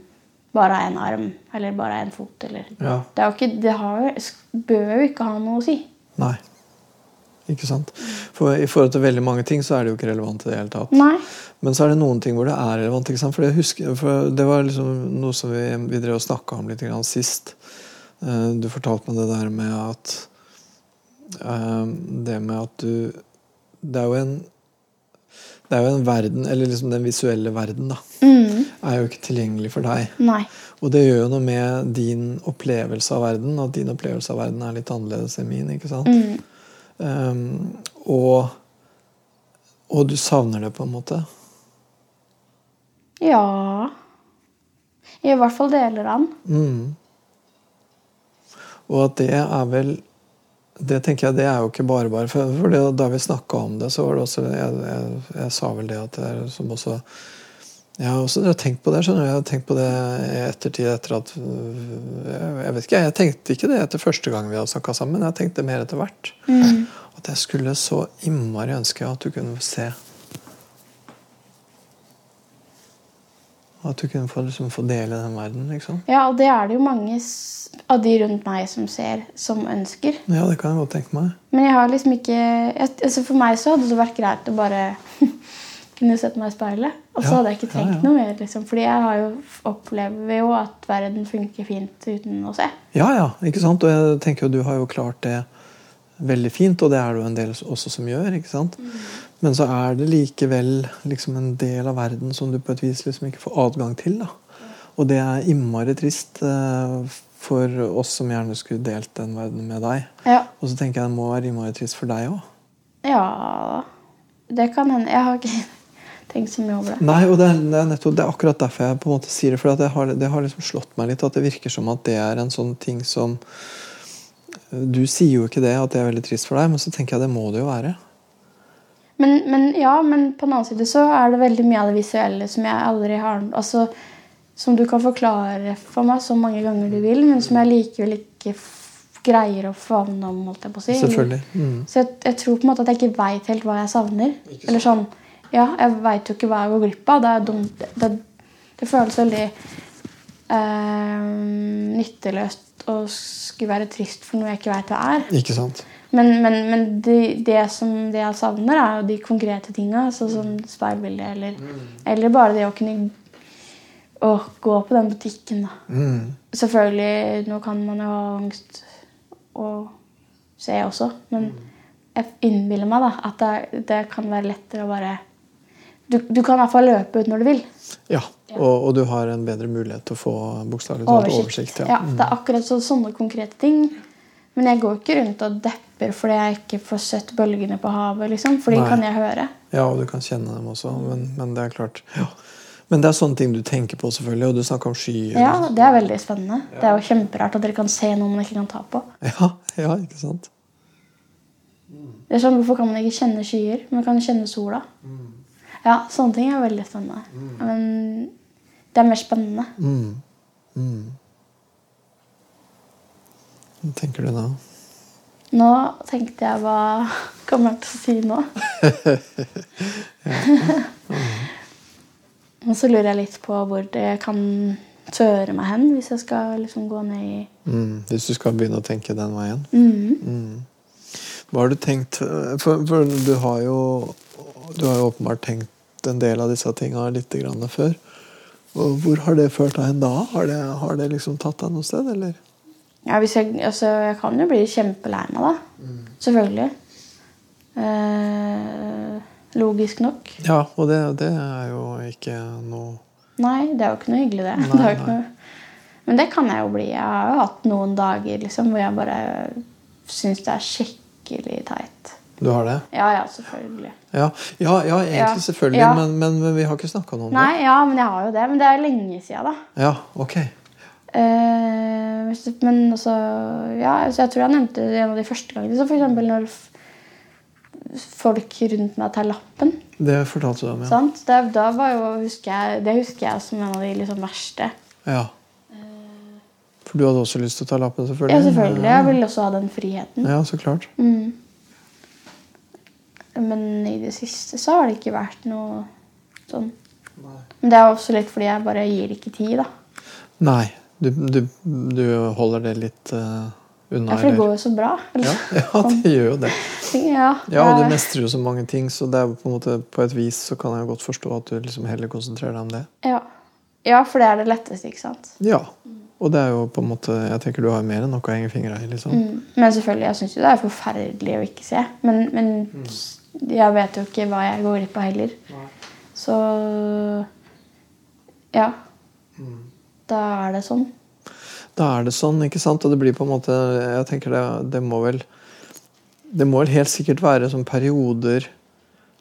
Speaker 3: bare har én arm, eller bare har én fot, eller
Speaker 2: Ja.
Speaker 3: Det, er jo ikke, det har, jo- sk- bør jo ikke ha noe å si.
Speaker 2: Nei. Ikke sant? For i forhold til veldig mange ting så er det jo ikke relevant i det hele tatt.
Speaker 3: Nei.
Speaker 2: Men så er det noen ting hvor det er relevant. ikke sant? For, jeg husker, for Det var liksom noe som vi, vi drev og snakka om litt grann sist. Eh, Du fortalte meg det der med at eh, Det med at du Det er jo en det er jo en verden, eller liksom den visuelle verden, da,
Speaker 3: Mm.
Speaker 2: er jo ikke tilgjengelig for deg.
Speaker 3: Nei.
Speaker 2: Og det gjør jo noe med din opplevelse av verden, at din opplevelse av verden er litt annerledes enn min. ikke sant?
Speaker 3: Mm.
Speaker 2: Um, og, og du savner det, på en måte.
Speaker 3: Ja I hvert fall deler han.
Speaker 2: Mm. Og at det er vel Det tenker jeg, det er jo ikke bare bare. For, for det, da vi snakka om det, så var det også Jeg, jeg, jeg sa vel det at det er som også jeg har også tenkt på det skjønner du, jeg har tenkt på det i ettertid etter at øh, Jeg jeg vet ikke, jeg tenkte ikke det etter første gang vi hadde snakka sammen. Jeg tenkte mer etter hvert. At jeg skulle så innmari ønske at du kunne se At du kunne få, liksom, få dele den verden, liksom.
Speaker 3: Ja, og det er det jo mange s- av de rundt meg som ser, som ønsker.
Speaker 2: Ja, det kan jeg godt tenke meg.
Speaker 3: Men jeg har liksom ikke jeg, altså For meg så hadde det vært greit å bare kunne sette meg i speilet. Og
Speaker 2: Ja,
Speaker 3: så hadde jeg ikke trengt
Speaker 2: ja, ja.
Speaker 3: noe mer. liksom. Fordi jeg har jo opplever jo at verden funker fint uten å se.
Speaker 2: Ja, ja, ikke sant? Og jeg tenker jo du har jo klart det veldig fint, og det er det jo en del også som gjør. ikke sant? Men så er det likevel liksom en del av verden som du på et vis liksom ikke får adgang til. da. Og det er innmari trist eh, for oss som gjerne skulle delt den verdenen med deg.
Speaker 3: Ja,
Speaker 2: Og så tenker jeg det må være innmari trist for deg òg.
Speaker 3: Ja Det kan hende. Jeg har ikke tenkt så mye over det.
Speaker 2: Nei, og det er, det er, nettopp, det er akkurat derfor jeg på en måte sier det. For at det har, det har liksom slått meg litt at det virker som at det er en sånn ting som Du sier jo ikke det, at det er veldig trist for deg, men så tenker jeg det må det jo være.
Speaker 3: Men, men ja, men på den annen side så er det veldig mye av det visuelle som jeg aldri har altså, Som du kan forklare for meg så mange ganger du vil, men som jeg likevel ikke f- greier å favne om. holdt jeg på å si.
Speaker 2: Selvfølgelig. Mm.
Speaker 3: Så jeg, jeg tror på en måte at jeg ikke veit helt hva jeg savner. Eller sånn, ja, Jeg veit jo ikke hva jeg går glipp av. Det er dumt. Det, det føles veldig eh, nytteløst å skulle være trist for noe jeg ikke veit hva er.
Speaker 2: Ikke sant?
Speaker 3: Men, men, men det, det som det jeg savner, er jo de konkrete tinga. Sånn som speilbildet, eller, eller bare det å kunne å gå på den butikken, da.
Speaker 2: Mm.
Speaker 3: Selvfølgelig, nå kan man jo ha angst og se også, men jeg innbiller meg da at det, det kan være lettere å bare du, du kan i hvert fall løpe ut når du vil.
Speaker 2: Ja. Og, og du har en bedre mulighet til å få bokstavelig talt
Speaker 3: Oversikt.
Speaker 2: oversikt. Mm.
Speaker 3: ja. det er akkurat så, sånne konkrete ting. Men jeg går ikke rundt og depper fordi jeg ikke får sett bølgene på havet. liksom, For de
Speaker 2: Nei.
Speaker 3: kan jeg høre.
Speaker 2: Ja, og du kan kjenne dem også. Men, men det er klart ja. Men det er sånne ting du tenker på, selvfølgelig. Og du snakker om skyer.
Speaker 3: Ja, Det er veldig spennende. Det er jo kjemperart at dere kan se noe man ikke kan ta på.
Speaker 2: Ja, ja, ikke sant?
Speaker 3: Det er sånn, Hvorfor kan man ikke kjenne skyer? Man kan kjenne sola. Ja, sånne ting er veldig spennende. Men det er mer spennende.
Speaker 2: Mm. Mm. Hva tenker du da?
Speaker 3: Nå tenkte jeg hva kommer jeg til å si nå? Og så lurer jeg litt på hvor det kan føre meg hen hvis jeg skal liksom gå ned i
Speaker 2: Mm. Hvis du skal begynne å tenke den veien?
Speaker 3: Mhm.
Speaker 2: Mm. Hva har du tenkt For, for du, har jo, du har jo åpenbart tenkt en del av disse tinga litt grann før. Og hvor har det ført deg hen da? Har det, har det liksom tatt deg noe sted, eller?
Speaker 3: Ja, hvis jeg, altså, jeg kan jo bli kjempelei meg, da. Selvfølgelig. Eh, logisk nok.
Speaker 2: Ja, og det, det er jo ikke noe
Speaker 3: Nei, det er jo ikke noe hyggelig, det. det er jo ikke noe... Men det kan jeg jo bli. Jeg har jo hatt noen dager liksom, hvor jeg bare syns det er skikkelig teit.
Speaker 2: Du har det?
Speaker 3: Ja, ja, selvfølgelig.
Speaker 2: Ja, ja, ja egentlig,
Speaker 3: Ja.
Speaker 2: selvfølgelig,
Speaker 3: Ja.
Speaker 2: Men, men, men vi har ikke snakka noe om
Speaker 3: Nei, ja, men jeg har jo det. Men det er lenge sia, da.
Speaker 2: det. Ja, ok.
Speaker 3: Eh, hvis det- men altså Ja, altså, jeg tror jeg nevnte det en av de første gangene. Så for eksempel når f folk rundt meg tar lappen.
Speaker 2: Det fortalte du om, ja.
Speaker 3: Sant? Det, da var jo, husker jeg, det husker jeg som en av de liksom verste.
Speaker 2: ja. For du hadde også lyst til å ta lappen, selvfølgelig?
Speaker 3: Ja, selvfølgelig. Jeg ville også ha den friheten.
Speaker 2: Ja, så klart.
Speaker 3: Mm. Men i det siste så har det ikke vært noe sånn. Men det er også litt fordi jeg bare gir ikke tid, da.
Speaker 2: Nei, du, du, du holder det litt eh, unna?
Speaker 3: Ja, for det
Speaker 2: eller?
Speaker 3: går jo så bra.
Speaker 2: Ja, ja, det gjør jo det.
Speaker 3: ja,
Speaker 2: Ja, og du
Speaker 3: det er-
Speaker 2: mestrer jo så mange ting, så det er jo på, en måte, på et vis så kan jeg jo godt forstå at du liksom heller konsentrerer deg om det.
Speaker 3: ja. ja, for det er det letteste, ikke sant.
Speaker 2: Ja, og det er jo på en måte Jeg tenker du har mer enn nok å henge fingra i, liksom.
Speaker 3: Mm. Men selvfølgelig, jeg syns jo det er forferdelig å ikke se. Men, men
Speaker 2: Mm.
Speaker 3: jeg vet jo ikke hva jeg går glipp av heller. Så ja.
Speaker 2: Mm.
Speaker 3: Da er det sånn.
Speaker 2: Da er det sånn, ikke sant? Og det blir på en måte Jeg tenker det, det må vel Det må vel helt sikkert være sånn perioder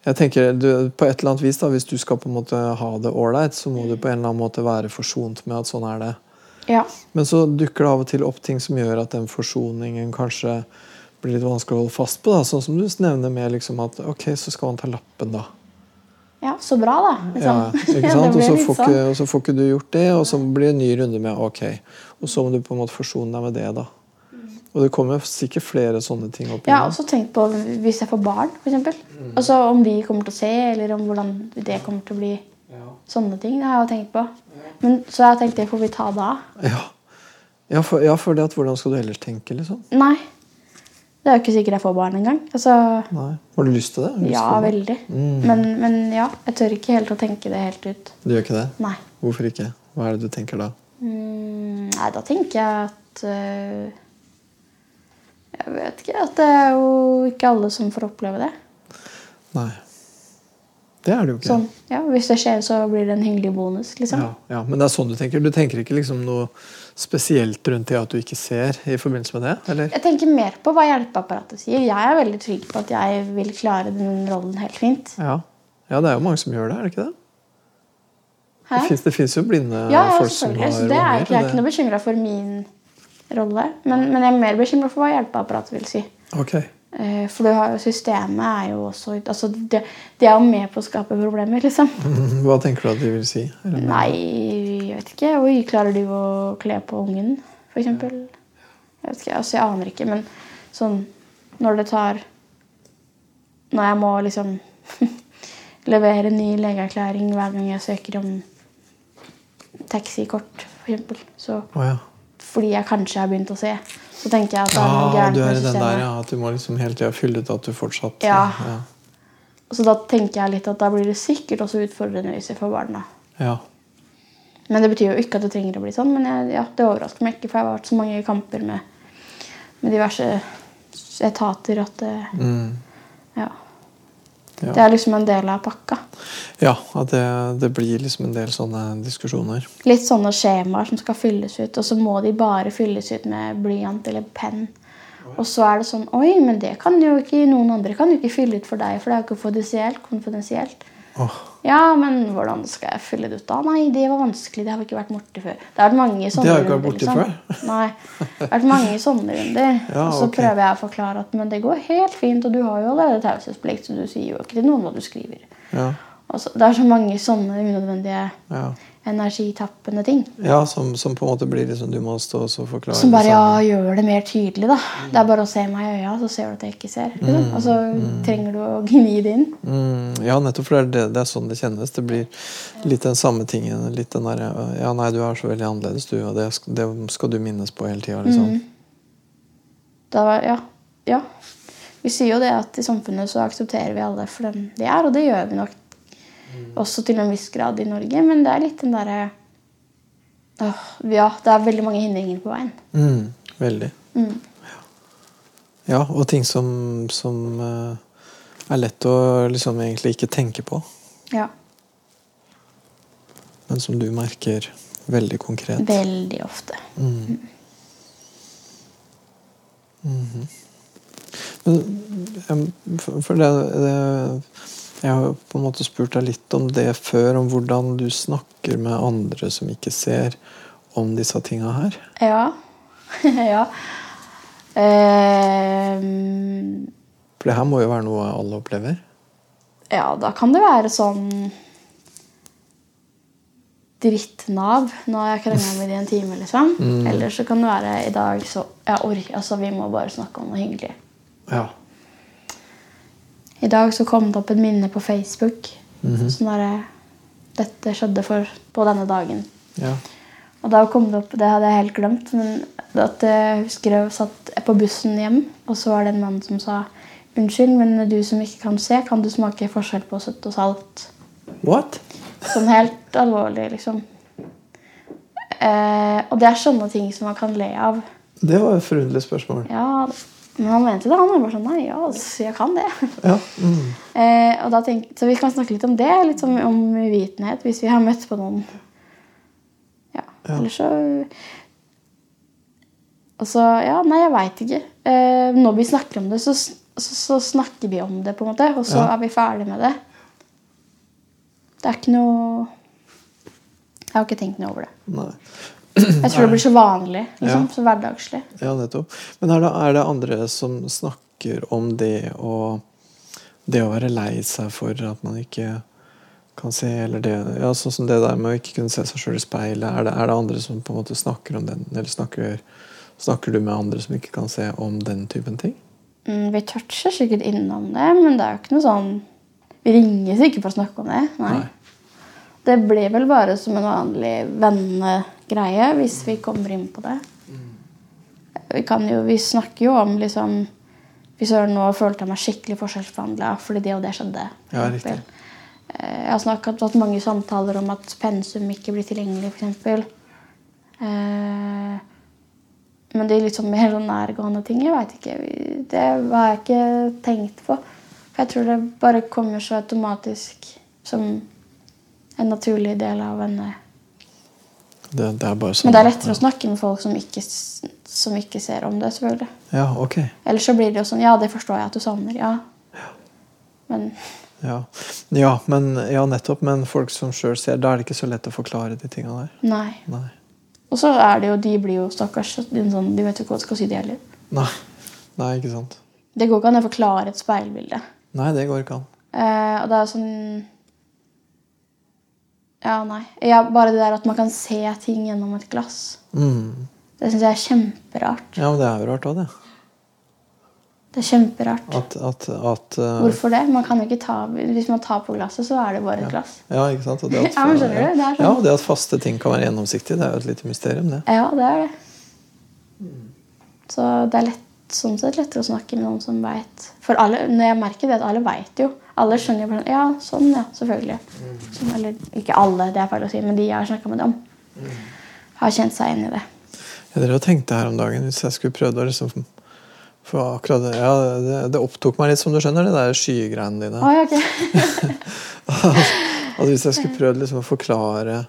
Speaker 2: jeg tenker du, på et eller annet vis da, Hvis du skal på en måte ha det ålreit, så må du på en eller annen måte være forsont med at sånn er det.
Speaker 3: Ja.
Speaker 2: Men så dukker det av og til opp ting som gjør at den forsoningen kanskje blir litt vanskelig å holde fast på. da, Sånn som du nevner med liksom at ok, så skal man ta lappen, da.
Speaker 3: Ja, så bra, da.
Speaker 2: Ja,
Speaker 3: Liksom.
Speaker 2: ikke
Speaker 3: det
Speaker 2: sant? Og
Speaker 3: blir
Speaker 2: så
Speaker 3: litt
Speaker 2: får
Speaker 3: sånn.
Speaker 2: ikke, og så får ikke du gjort det, og så blir det en ny runde med ok. Og så må du på en måte forsone deg med det, da. Og det kommer sikkert flere sånne ting opp.
Speaker 3: Jeg har
Speaker 2: igjennom.
Speaker 3: også tenkt på hvis jeg får barn, f.eks.
Speaker 2: Mm.
Speaker 3: Altså om de kommer til å se, eller om hvordan det kommer til å bli. Sånne ting det har jeg jo tenkt på. Men så har jeg tenkt det får vi ta da.
Speaker 2: ja. Ja, for, ja, for det at hvordan skal du ellers tenke, liksom?
Speaker 3: Nei. Det er jo ikke sikkert jeg får barn engang. Altså,
Speaker 2: Nei. Har du lyst til det? Har du Mm. lyst
Speaker 3: ja,
Speaker 2: til det?
Speaker 3: veldig. Men, men ja, jeg tør ikke helt å tenke det helt ut.
Speaker 2: Du gjør ikke det?
Speaker 3: Nei.
Speaker 2: Hvorfor ikke? Hva er det du tenker da?
Speaker 3: Mm, nei, da tenker jeg at øh, Jeg vet ikke. At det er jo ikke alle som får oppleve det.
Speaker 2: Nei. Det er det jo ikke.
Speaker 3: Sånn, ja, Hvis det skjer, så blir det en hyggelig bonus. liksom.
Speaker 2: Ja, ja, Men det er sånn du tenker? Du tenker ikke liksom noe spesielt rundt det at du ikke ser i forbindelse med det? eller?
Speaker 3: Jeg tenker mer på hva hjelpeapparatet sier. Jeg er veldig trygg på at jeg vil klare den rollen helt fint.
Speaker 2: Ja, ja det er jo mange som gjør det, er det ikke det?
Speaker 3: Hæ?
Speaker 2: Det finnes- Det fins jo blinde
Speaker 3: Ja, ja
Speaker 2: Eh, folk som har
Speaker 3: selvfølgelig. Så det er, ikke- jeg er
Speaker 2: unger.
Speaker 3: ikke noe bekymra for min rolle. Men, men jeg er mer bekymra for hva hjelpeapparatet vil si.
Speaker 2: Ok,
Speaker 3: Eh, For du har, jo- systemet er jo også altså, det, det er jo med på å skape problemer, liksom.
Speaker 2: Mhm, Hva tenker du at de vil si? Eller?
Speaker 3: Nei, jeg vet ikke. Hvor klarer du å kle på ungen, f.eks.? Jeg vet ikke, altså jeg aner ikke, men sånn når det tar Når jeg må liksom levere ny legeerklæring hver gang jeg søker om taxikort, f.eks., så
Speaker 2: Å ja.
Speaker 3: fordi jeg kanskje har begynt å se, så tenker jeg at det er noe
Speaker 2: Ah,
Speaker 3: gærent
Speaker 2: du er
Speaker 3: med
Speaker 2: i den
Speaker 3: systemet.
Speaker 2: der, ja. At du må liksom hele tida fylle ut at du fortsatt
Speaker 3: Ja.
Speaker 2: ja.
Speaker 3: Så da tenker jeg litt at da blir det sikkert også utfordrende hvis jeg får barna.
Speaker 2: ja.
Speaker 3: Men det betyr jo ikke at det trenger å bli sånn. Men jeg, ja, det overrasker meg ikke, for jeg har vært så mange kamper med, med diverse etater at det,
Speaker 2: Mm.
Speaker 3: ja.
Speaker 2: Ja.
Speaker 3: det er liksom en del av pakka.
Speaker 2: ja at det, det blir liksom en del sånne diskusjoner.
Speaker 3: Litt sånne skjemaer som skal fylles ut, og så må de bare fylles ut med blyant eller penn. Og så er det sånn Oi, men det kan jo ikke noen andre kan jo ikke fylle ut for deg, for det er jo konfidensielt. konfidensielt.
Speaker 2: Åh,
Speaker 3: Ja, men hvordan skal jeg fylle det ut da? Nei, det var vanskelig. Det har vi ikke vært borti før. Det har vært mange sånne
Speaker 2: Det har jeg ikke vært borti
Speaker 3: liksom. Nei. Det har vært mange sånne runder.
Speaker 2: Ja,
Speaker 3: og så
Speaker 2: ok.
Speaker 3: prøver jeg å forklare at men det går helt fint, og du har jo allerede taushetsplikt, så du sier jo ikke til noen hva du skriver.
Speaker 2: ja,
Speaker 3: Og så, det er så mange sånne unødvendige
Speaker 2: ja.
Speaker 3: energitappende ting.
Speaker 2: ja som, som på en måte blir liksom Du må stå og så forklare
Speaker 3: Som bare
Speaker 2: det
Speaker 3: ja,
Speaker 2: samme.
Speaker 3: gjør det mer tydelig, da. Det er bare å se meg i øya, så ser du at jeg ikke ser. Liksom. Og så trenger du å gni det inn.
Speaker 2: Mm, ja, nettopp. For det er, det, det er sånn det kjennes. Det blir litt den samme tingen. Litt den der, øh, ja, nei, du er så veldig annerledes, du, og det, sk- det skal du minnes på hele tida. Liksom.
Speaker 3: Da var, ja, ja. Vi sier jo det at i samfunnet så aksepterer vi alle for den de er, og det gjør vi nok også til en viss grad i Norge, men det er litt den derre Åh, Ja, det er veldig mange hindringer på veien.
Speaker 2: Mm, veldig.
Speaker 3: Mm.
Speaker 2: Ja, og ting som, som eh, er lett å liksom egentlig ikke tenke på,
Speaker 3: Ja,
Speaker 2: men som du merker veldig konkret.
Speaker 3: Veldig ofte.
Speaker 2: Jeg- For for det, det Jeg har jo på en måte spurt deg litt om det før, om hvordan du snakker med andre som ikke ser, om disse tinga her.
Speaker 3: Ja. ja. Ehm,
Speaker 2: For det her må jo være noe alle opplever.
Speaker 3: Ja, da kan det være sånn Drittnav. Nå har jeg krangla med de i en time, liksom. Eller så kan det være i dag så Jeg orker Altså, vi må bare snakke om noe hyggelig.
Speaker 2: Ja.
Speaker 3: I dag så kom det opp et minne på Facebook. Sånn derre Dette skjedde for, på denne dagen.
Speaker 2: ja.
Speaker 3: Og da kom det opp, det hadde jeg helt glemt, men at jeg husker jeg satt på bussen hjem, og så var det en mann som sa Unnskyld, men du som ikke kan se, kan du smake forskjell på søtt og salt?
Speaker 2: What?
Speaker 3: Sånn helt alvorlig, liksom. Eh, og det er sånne ting som man kan le av.
Speaker 2: Det var et forunderlig spørsmål.
Speaker 3: Ja, Men han mente det. Han var bare sånn Nei, ja, altså, jeg kan det.
Speaker 2: Ja. Mm.
Speaker 3: Eh, og da tenk, så vi kan snakke litt om det, litt om, om uvitenhet, hvis vi har møtt på noen. Ja, eller så Og så Ja, nei, jeg veit ikke. Eh, når vi snakker om det, så, s- så, så snakker vi om det, på en måte. Og så
Speaker 2: Ja.
Speaker 3: er vi ferdig med det. Det er ikke noe Jeg har ikke tenkt noe over det.
Speaker 2: Nei.
Speaker 3: Jeg tror det blir så vanlig. liksom,
Speaker 2: Ja.
Speaker 3: Så hverdagslig.
Speaker 2: Ja, nettopp. Men er det, er det andre som snakker om det å Det å være lei seg for at man ikke kan se, eller det Ja, sånn som det der med å ikke kunne se seg sjøl i speilet. Er det, er det andre som på en måte snakker om den, eller snakker, snakker du med andre som ikke kan se, om den typen ting?
Speaker 3: Mm, vi toucher sikkert innom det, men det er jo ikke noe sånn Vi ringes ikke for å snakke om det. Nei.
Speaker 2: Nei.
Speaker 3: Det blir vel bare som en vanlig vennegreie hvis vi kommer inn på det. Vi, kan jo, vi snakker jo om liksom Fy søren, nå følte jeg meg skikkelig forskjellsbehandla fordi det og det skjedde. for
Speaker 2: Ja,
Speaker 3: eksempel.
Speaker 2: riktig.
Speaker 3: Eh, Jeg har snakket, hatt mange samtaler om at pensum ikke blir tilgjengelig, f.eks. Eh, men de litt sånn mer sånn nærgående ting, jeg veit ikke. Det har jeg ikke tenkt på. For jeg tror det bare kommer så automatisk som en naturlig del av en eh,
Speaker 2: Det, det er bare sånn.
Speaker 3: Men det er lettere å snakke med folk som ikke, s- som ikke ser om det, selvfølgelig.
Speaker 2: Ja, ok.
Speaker 3: Ellers så blir det jo sånn Ja, det forstår jeg at du savner. Ja. Men
Speaker 2: Ja, ja, men, ja nettopp. Men folk som sjøl ser, da er det ikke så lett å forklare de tinga der.
Speaker 3: nei.
Speaker 2: Nei.
Speaker 3: Og så er det jo De blir jo stakkars så- de er sånn, De vet jo ikke hva de skal si, de heller.
Speaker 2: Nei. Nei, ikke sant.
Speaker 3: Det går ikke an å forklare et speilbilde.
Speaker 2: Nei, det går ikke an.
Speaker 3: Eh, og det er jo sånn Ja, nei. Ja, bare det der at man kan se ting gjennom et glass.
Speaker 2: Mm.
Speaker 3: Det syns jeg er kjemperart.
Speaker 2: Ja, men det er jo rart òg, det.
Speaker 3: Det er kjemperart.
Speaker 2: At, at, at eh,
Speaker 3: Hvorfor det? Man kan jo ikke ta, hvis man tar på glasset, så er det bare et glass.
Speaker 2: Ja, ikke sant? Og det at,
Speaker 3: Ja, men skjønner du? Det er sånn.
Speaker 2: Ja, og det at faste ting kan være gjennomsiktige, det er jo et lite mysterium, det.
Speaker 3: Ja, det er det. Så det er lett, sånn sett lettere å snakke med noen som veit. For alle, når jeg merker det, at alle veit jo. Alle skjønner jo bare sånn Ja, sånn, ja. Selvfølgelig. Sånn, eller ikke alle, det er feil å si, men de jeg har snakka med dem, har kjent seg inn i det.
Speaker 2: Jeg drev og tenkte her om dagen hvis jeg skulle prøvd å liksom få akkurat det, ja, det, det opptok meg litt, som du skjønner, det der skygreiene dine.
Speaker 3: Å, ja, ok.
Speaker 2: At hvis jeg skulle prøvd liksom å forklare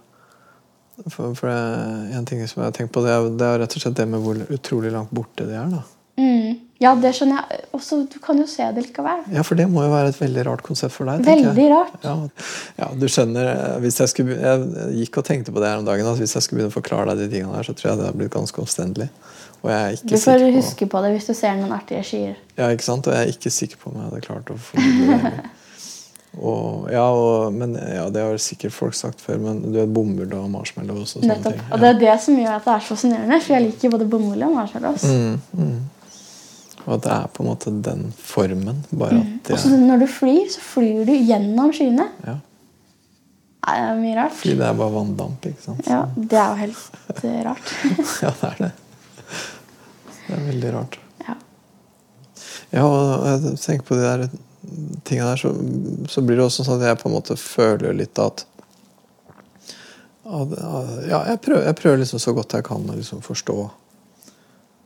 Speaker 2: For, for det, en ting som jeg har tenkt på, det er, det er rett og slett det med hvor utrolig langt borte de er. da.
Speaker 3: Mm. Ja, det skjønner jeg. Også, du kan jo se det likevel.
Speaker 2: Ja, For det må jo være et veldig rart konsept for deg. tenker
Speaker 3: Veldig
Speaker 2: jeg.
Speaker 3: rart.
Speaker 2: Ja, ja, du skjønner, eh, hvis jeg, skulle, be- jeg gikk og tenkte på det her om dagen. at Hvis jeg skulle begynne å forklare deg de tingene her, så tror jeg det hadde blitt ganske omstendelig. Og jeg er
Speaker 3: Du
Speaker 2: ikke
Speaker 3: får
Speaker 2: sikker på,
Speaker 3: huske på det hvis du ser noen artige skyer.
Speaker 2: ja, ikke sant? Og jeg er ikke sikker på om jeg hadde klart å formidle det. heller. Og, ja, og, men, ja, det har sikkert folk sagt før, men du er bomull og marshmallow og sånne
Speaker 3: Nettopp.
Speaker 2: ting.
Speaker 3: Og det er det som gjør at det er så fascinerende, for jeg liker både bomull og marshmallows.
Speaker 2: Mm, Og at det er på en måte den formen, bare at det
Speaker 3: Og så
Speaker 2: er,
Speaker 3: når du flyr, så flyr du gjennom skyene.
Speaker 2: ja,
Speaker 3: Nei, Det er mye rart.
Speaker 2: fordi det er bare vanndamp, ikke sant?
Speaker 3: Ja, det er jo helt eh, rart.
Speaker 2: Ja, det er det. Det er veldig rart.
Speaker 3: Ja.
Speaker 2: Ja, og jeg tenker på de der tingene der, så, så blir det også sånn at jeg på en måte føler litt at at- at- Ja, jeg prøver, jeg prøver liksom så godt jeg kan å liksom forstå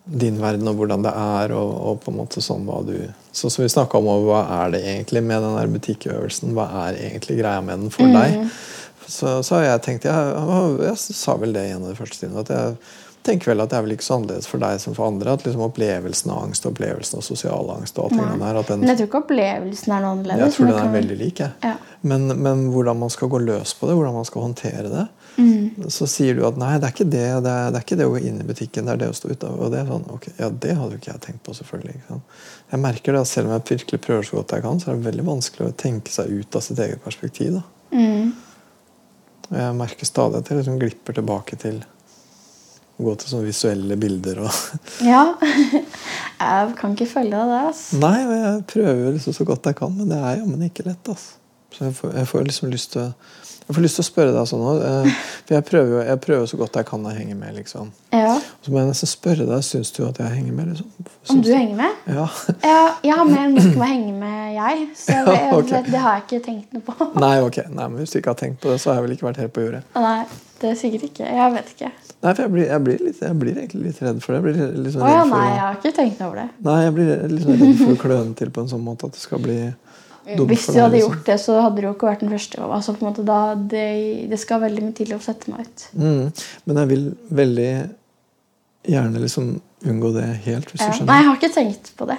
Speaker 2: din verden og hvordan det er, og, og på en måte sånn hva du Sånn som vi snakka om, og hva er det egentlig med den der butikkøvelsen? Hva er egentlig greia med den for deg? Så, så har jeg tenkt jeg, jeg, sa vel det i en av de første timene, at jeg tenker vel at det er vel ikke så annerledes for deg som for andre. At liksom opplevelsen av angst, opplevelsen av sosial angst og alt det der at den,
Speaker 3: Men jeg tror ikke opplevelsen er noe annerledes.
Speaker 2: jeg tror
Speaker 3: men
Speaker 2: den er
Speaker 3: det kan-
Speaker 2: veldig lik. Jeg.
Speaker 3: Ja.
Speaker 2: Men, men hvordan man skal gå løs på det, hvordan man skal håndtere det.
Speaker 3: Mm.
Speaker 2: Så sier du at nei, det er ikke det det er, det er ikke det å gå inn i butikken, det er det å stå utenfor. Og det er sånn, ok, ja, det hadde jo ikke jeg tenkt på, selvfølgelig. Ikke sant? Jeg merker det at selv om jeg virkelig prøver så godt jeg kan, så er det veldig vanskelig å tenke seg ut av sitt eget perspektiv. da.
Speaker 3: Mm.
Speaker 2: Og jeg merker stadig at jeg liksom glipper tilbake til å gå til sånne visuelle bilder og
Speaker 3: Ja. Jeg kan ikke følge deg der, ass.
Speaker 2: Nei, og jeg prøver liksom så godt jeg kan, men det er jammen ikke lett. Altså. Så jeg får, jeg får liksom lyst til jeg får lyst til å spørre deg sånn nå. eh, For jeg prøver, jo- jeg prøver så godt jeg kan å henge med. liksom.
Speaker 3: Ja.
Speaker 2: Så må jeg nesten spørre deg syns du at jeg henger med. liksom?
Speaker 3: Om
Speaker 2: Syns
Speaker 3: du henger med?
Speaker 2: Ja.
Speaker 3: Ja, jeg har mer enn nok med å henge med, jeg. Så jeg,
Speaker 2: Ja, ok.
Speaker 3: det, det har jeg ikke tenkt noe på.
Speaker 2: Nei, ok. Nei, men Hvis du ikke har tenkt på det, så har jeg vel ikke vært helt på jordet.
Speaker 3: Nei, det er sikkert ikke. Jeg vet ikke.
Speaker 2: Nei, for jeg blir, jeg blir, litt, jeg blir egentlig litt redd for det. Jeg blir liksom
Speaker 3: Å ja,
Speaker 2: redd for,
Speaker 3: nei,
Speaker 2: å-
Speaker 3: jeg har ikke tenkt over det.
Speaker 2: nei, jeg blir liksom redd for å kløne til på en sånn måte at det skal bli dumt
Speaker 3: Hvis
Speaker 2: for
Speaker 3: du
Speaker 2: deg.
Speaker 3: hadde
Speaker 2: liksom.
Speaker 3: gjort det, så hadde du jo ikke vært den første. Altså, på en måte, da, det, det skal veldig mye til å sette meg ut.
Speaker 2: Mm. Men jeg vil veldig gjerne liksom unngå det helt, hvis du sånn
Speaker 3: Ja. Nei,
Speaker 2: skjønner.
Speaker 3: jeg har ikke tenkt på det.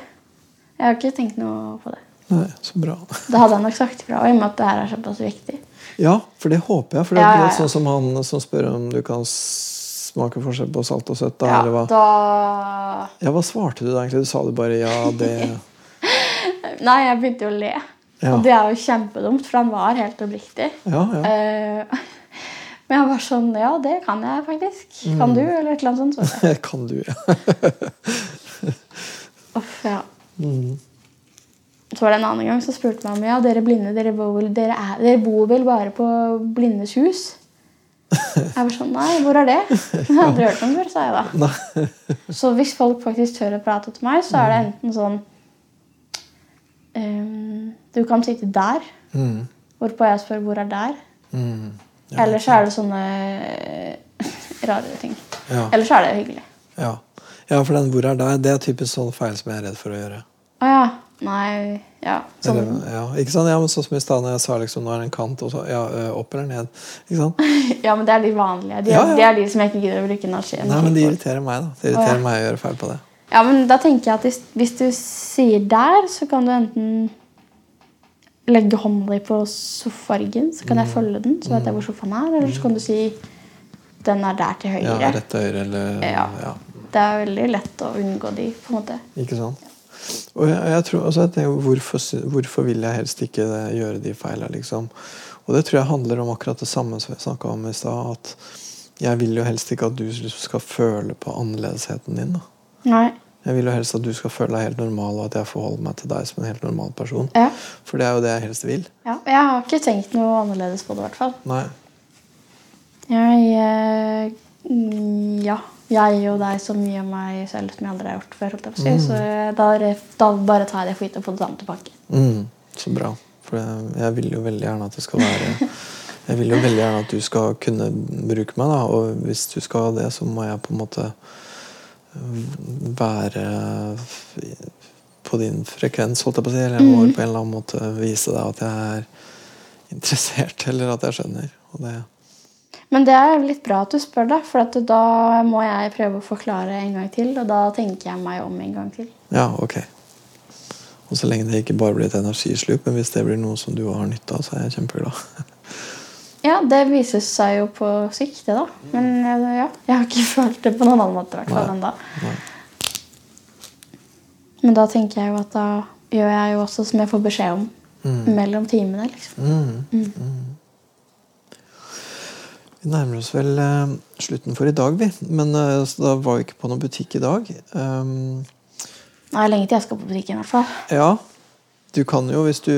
Speaker 3: Jeg har ikke tenkt noe på det.
Speaker 2: Nei, så bra.
Speaker 3: Da hadde jeg nok sagt ifra, og i og med at det her er såpass viktig.
Speaker 2: Ja, for det håper jeg. For det
Speaker 3: Ja,
Speaker 2: blir
Speaker 3: ja, ja.
Speaker 2: sånn som han som spør om du kan smake forskjell på salt og søtt. Da,
Speaker 3: Ja,
Speaker 2: eller hva?
Speaker 3: da
Speaker 2: ja, hva svarte du da egentlig? Du sa det bare ja, det
Speaker 3: Nei, jeg begynte jo å le.
Speaker 2: Ja.
Speaker 3: Og det er jo kjempedumt, for han var helt oppriktig.
Speaker 2: Ja, ja.
Speaker 3: Eh, men jeg var sånn Ja, det kan jeg faktisk.
Speaker 2: Mm.
Speaker 3: Kan du? Eller et eller annet sånt. Så.
Speaker 2: Kan du? Ja.
Speaker 3: Uff, ja.
Speaker 2: Mm.
Speaker 3: Så var det en annen gang så spurte meg om ja, dere blinde, dere bor, vel- dere, er, dere bor vel bare på blindes hus? Jeg var sånn Nei, hvor er det? Jeg har aldri hørt om det før, sa jeg da.
Speaker 2: Nei.
Speaker 3: Så hvis folk faktisk tør å prate til meg, så er
Speaker 2: Mm.
Speaker 3: det enten sånn ehm, Du kan sitte der.
Speaker 2: Mm.
Speaker 3: Hvorpå jeg spør hvor er der.
Speaker 2: Mm.
Speaker 3: Eller så er det sånne eh, rarere ting.
Speaker 2: Ja.
Speaker 3: Eller så er det hyggelig.
Speaker 2: ja. ja, for den 'hvor er der', det er typisk sånn feil som jeg er redd for å gjøre.
Speaker 3: Å ja. Nei, ja.
Speaker 2: Eller,
Speaker 3: Sånn.
Speaker 2: ja, ikke sant? ja, men sånn som i stad når jeg sa liksom, nå er det en kant, og så ja, ø, opp eller ned. Ikke sant?
Speaker 3: Ja, men det er de vanlige. De er,
Speaker 2: Ja, ja.
Speaker 3: Det er de som jeg ikke gidder å bruke energi
Speaker 2: Nei, men
Speaker 3: energi
Speaker 2: det
Speaker 3: på.
Speaker 2: irriterer meg, da. Det irriterer
Speaker 3: Å, ja.
Speaker 2: meg å gjøre feil på det.
Speaker 3: Ja, men da tenker jeg at hvis, hvis du sier der, så kan du enten legge hånda di på sofaryggen, så kan jeg
Speaker 2: Mm.
Speaker 3: følge den, så vet jeg hvor sofaen er, eller så kan du si den er der til
Speaker 2: Ja,
Speaker 3: høyre.
Speaker 2: rett til høyre eller
Speaker 3: Ja.
Speaker 2: ja.
Speaker 3: Det er veldig lett å unngå de, på en måte.
Speaker 2: Ikke sant? Og jeg, jeg tror, altså, jeg tenker, hvorfor, sy- hvorfor vil jeg helst ikke eh, gjøre de feilene, liksom? Og det tror jeg handler om akkurat det samme som jeg snakka om i stad. At jeg vil jo helst ikke at du liksom skal føle på annerledesheten din. da.
Speaker 3: Nei.
Speaker 2: Jeg vil jo helst at du skal føle deg helt normal, og at jeg forholder meg til deg som en helt normal person.
Speaker 3: Ja.
Speaker 2: For det er jo det jeg helst vil.
Speaker 3: Ja, jeg har ikke tenkt noe annerledes på det, i hvert fall.
Speaker 2: Nei.
Speaker 3: Jeg eh, mm, Ja. Jeg og deg så mye av meg selv som jeg aldri har gjort før. holdt jeg på å si.
Speaker 2: Mm.
Speaker 3: Så eh, da, ref- da bare tar jeg det for gitt og får det samme tilbake.
Speaker 2: Mm, så bra. For det- jeg vil jo veldig gjerne at det skal være Jeg vil jo veldig gjerne at du skal kunne bruke meg, da. Og hvis du skal ha det, så må jeg på en måte mm, være f- på din frekvens, holdt jeg på å si. Eller jeg må på en eller annen måte vise deg at jeg er interessert, eller at jeg skjønner. Og det,
Speaker 3: Men det er litt bra at du spør, da, for at da må jeg prøve å forklare en gang til. Og da tenker jeg meg om en gang til.
Speaker 2: ja, ok. Og så lenge det ikke bare blir et energisluk, men hvis det blir noe som du har nytte av, så er jeg kjempeglad.
Speaker 3: Ja, det viser seg jo på sikt, det, da. Men eh, ja, jeg har ikke følt det på noen annen måte i hvert fall
Speaker 2: Mm. Nei.
Speaker 3: ennå.
Speaker 2: Nei.
Speaker 3: Men da tenker jeg jo at da gjør jeg jo også som jeg får beskjed om
Speaker 2: Mm.
Speaker 3: mellom timene. liksom.
Speaker 2: Vi nærmer oss vel eh, slutten for i dag, vi. Men eh, så da var vi ikke på noen butikk i dag. Ehm,
Speaker 3: Nå er det lenge til jeg skal på butikken. i hvert fall.
Speaker 2: ja, du kan jo hvis du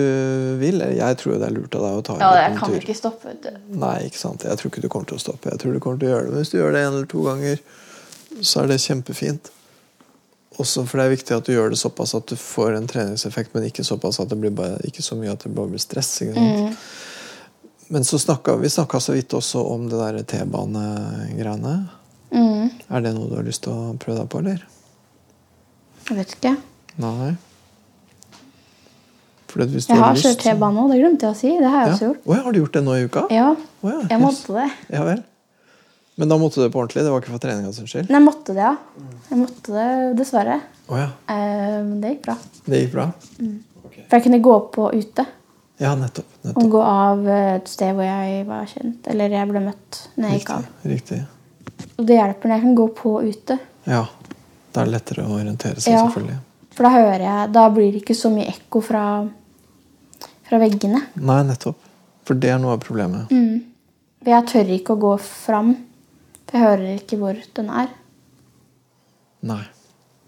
Speaker 2: vil. Eller Jeg tror jo det er lurt av deg å ta en
Speaker 3: Ja, Jeg
Speaker 2: liten
Speaker 3: kan
Speaker 2: tur.
Speaker 3: ikke stoppe. vet du.
Speaker 2: Nei, ikke sant. Jeg tror ikke du kommer til å stoppe. Jeg tror du kommer til å gjøre det. Men hvis du gjør det en eller to ganger, så er det kjempefint. Også for det er viktig at du gjør det såpass at du får en treningseffekt, men ikke såpass at det blir bare, ikke så mye at det bare blir stress. Ikke sant?
Speaker 3: Mm.
Speaker 2: Men så snakka, vi snakka så vidt også om det der T-banegreiene.
Speaker 3: Mm.
Speaker 2: Er det noe du har lyst til å prøve deg på, eller?
Speaker 3: Jeg vet ikke.
Speaker 2: Nei. For at hvis du
Speaker 3: Jeg har
Speaker 2: lyst,
Speaker 3: kjørt T-bane òg, det glemte jeg å si. Det har jeg også
Speaker 2: ja.
Speaker 3: gjort.
Speaker 2: Åja, har du gjort det nå i uka?
Speaker 3: Ja,
Speaker 2: Åja,
Speaker 3: jeg
Speaker 2: jøss.
Speaker 3: måtte det.
Speaker 2: Ja vel. Men da måtte du det på ordentlig? Det var ikke for treninga sin skyld?
Speaker 3: Nei, jeg måtte det, ja. Jeg måtte det, dessverre.
Speaker 2: Åja,
Speaker 3: Eh, Men det gikk bra.
Speaker 2: Det gikk bra?
Speaker 3: For jeg kunne gå på ute.
Speaker 2: Ja, nettopp. nettopp.
Speaker 3: Og gå av eh, et sted hvor jeg var kjent. Eller jeg ble møtt når jeg gikk
Speaker 2: Riktig.
Speaker 3: av.
Speaker 2: Riktig.
Speaker 3: Og det hjelper når jeg kan gå på ute.
Speaker 2: Ja. Da er det lettere å orientere seg,
Speaker 3: Ja.
Speaker 2: selvfølgelig.
Speaker 3: For da hører jeg Da blir det ikke så mye ekko fra, fra veggene.
Speaker 2: Nei, nettopp. For det er noe av problemet.
Speaker 3: For jeg tør ikke å gå fram. For jeg hører ikke hvor den er.
Speaker 2: Nei.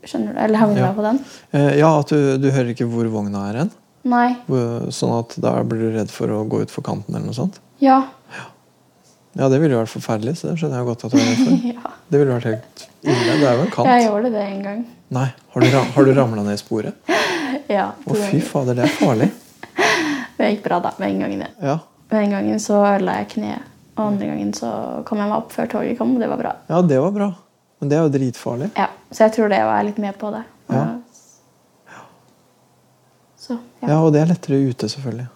Speaker 3: Skjønner du? Eller havner
Speaker 2: Ja.
Speaker 3: jeg på den?
Speaker 2: Eh, ja, at du, du hører ikke hvor vogna er hen.
Speaker 3: Nei.
Speaker 2: Hvor- Sånn at da blir du redd for å gå utfor kanten eller noe sånt.
Speaker 3: Ja.
Speaker 2: Ja, det ville jo vært forferdelig, så det skjønner jeg godt at du er redd for.
Speaker 3: ja.
Speaker 2: Det ville vært helt ille. Det er jo en kant.
Speaker 3: Jeg gjorde det en gang.
Speaker 2: Nei, Har du, ra- har du ramla ned i sporet?
Speaker 3: Ja,
Speaker 2: Å,
Speaker 3: to
Speaker 2: fy
Speaker 3: ganger.
Speaker 2: fader, det er farlig.
Speaker 3: Det gikk bra da, med en gang. det.
Speaker 2: Ja,
Speaker 3: Med en gangen så ødela jeg kneet. Og andre gangen så kom jeg meg opp før toget kom, og det var bra.
Speaker 2: ja det var bra. Men det er jo dritfarlig.
Speaker 3: Ja, Så jeg tror det var jeg litt med på det.
Speaker 2: Ja.
Speaker 3: Så, ja.
Speaker 2: Ja, Og det er lettere ute, selvfølgelig.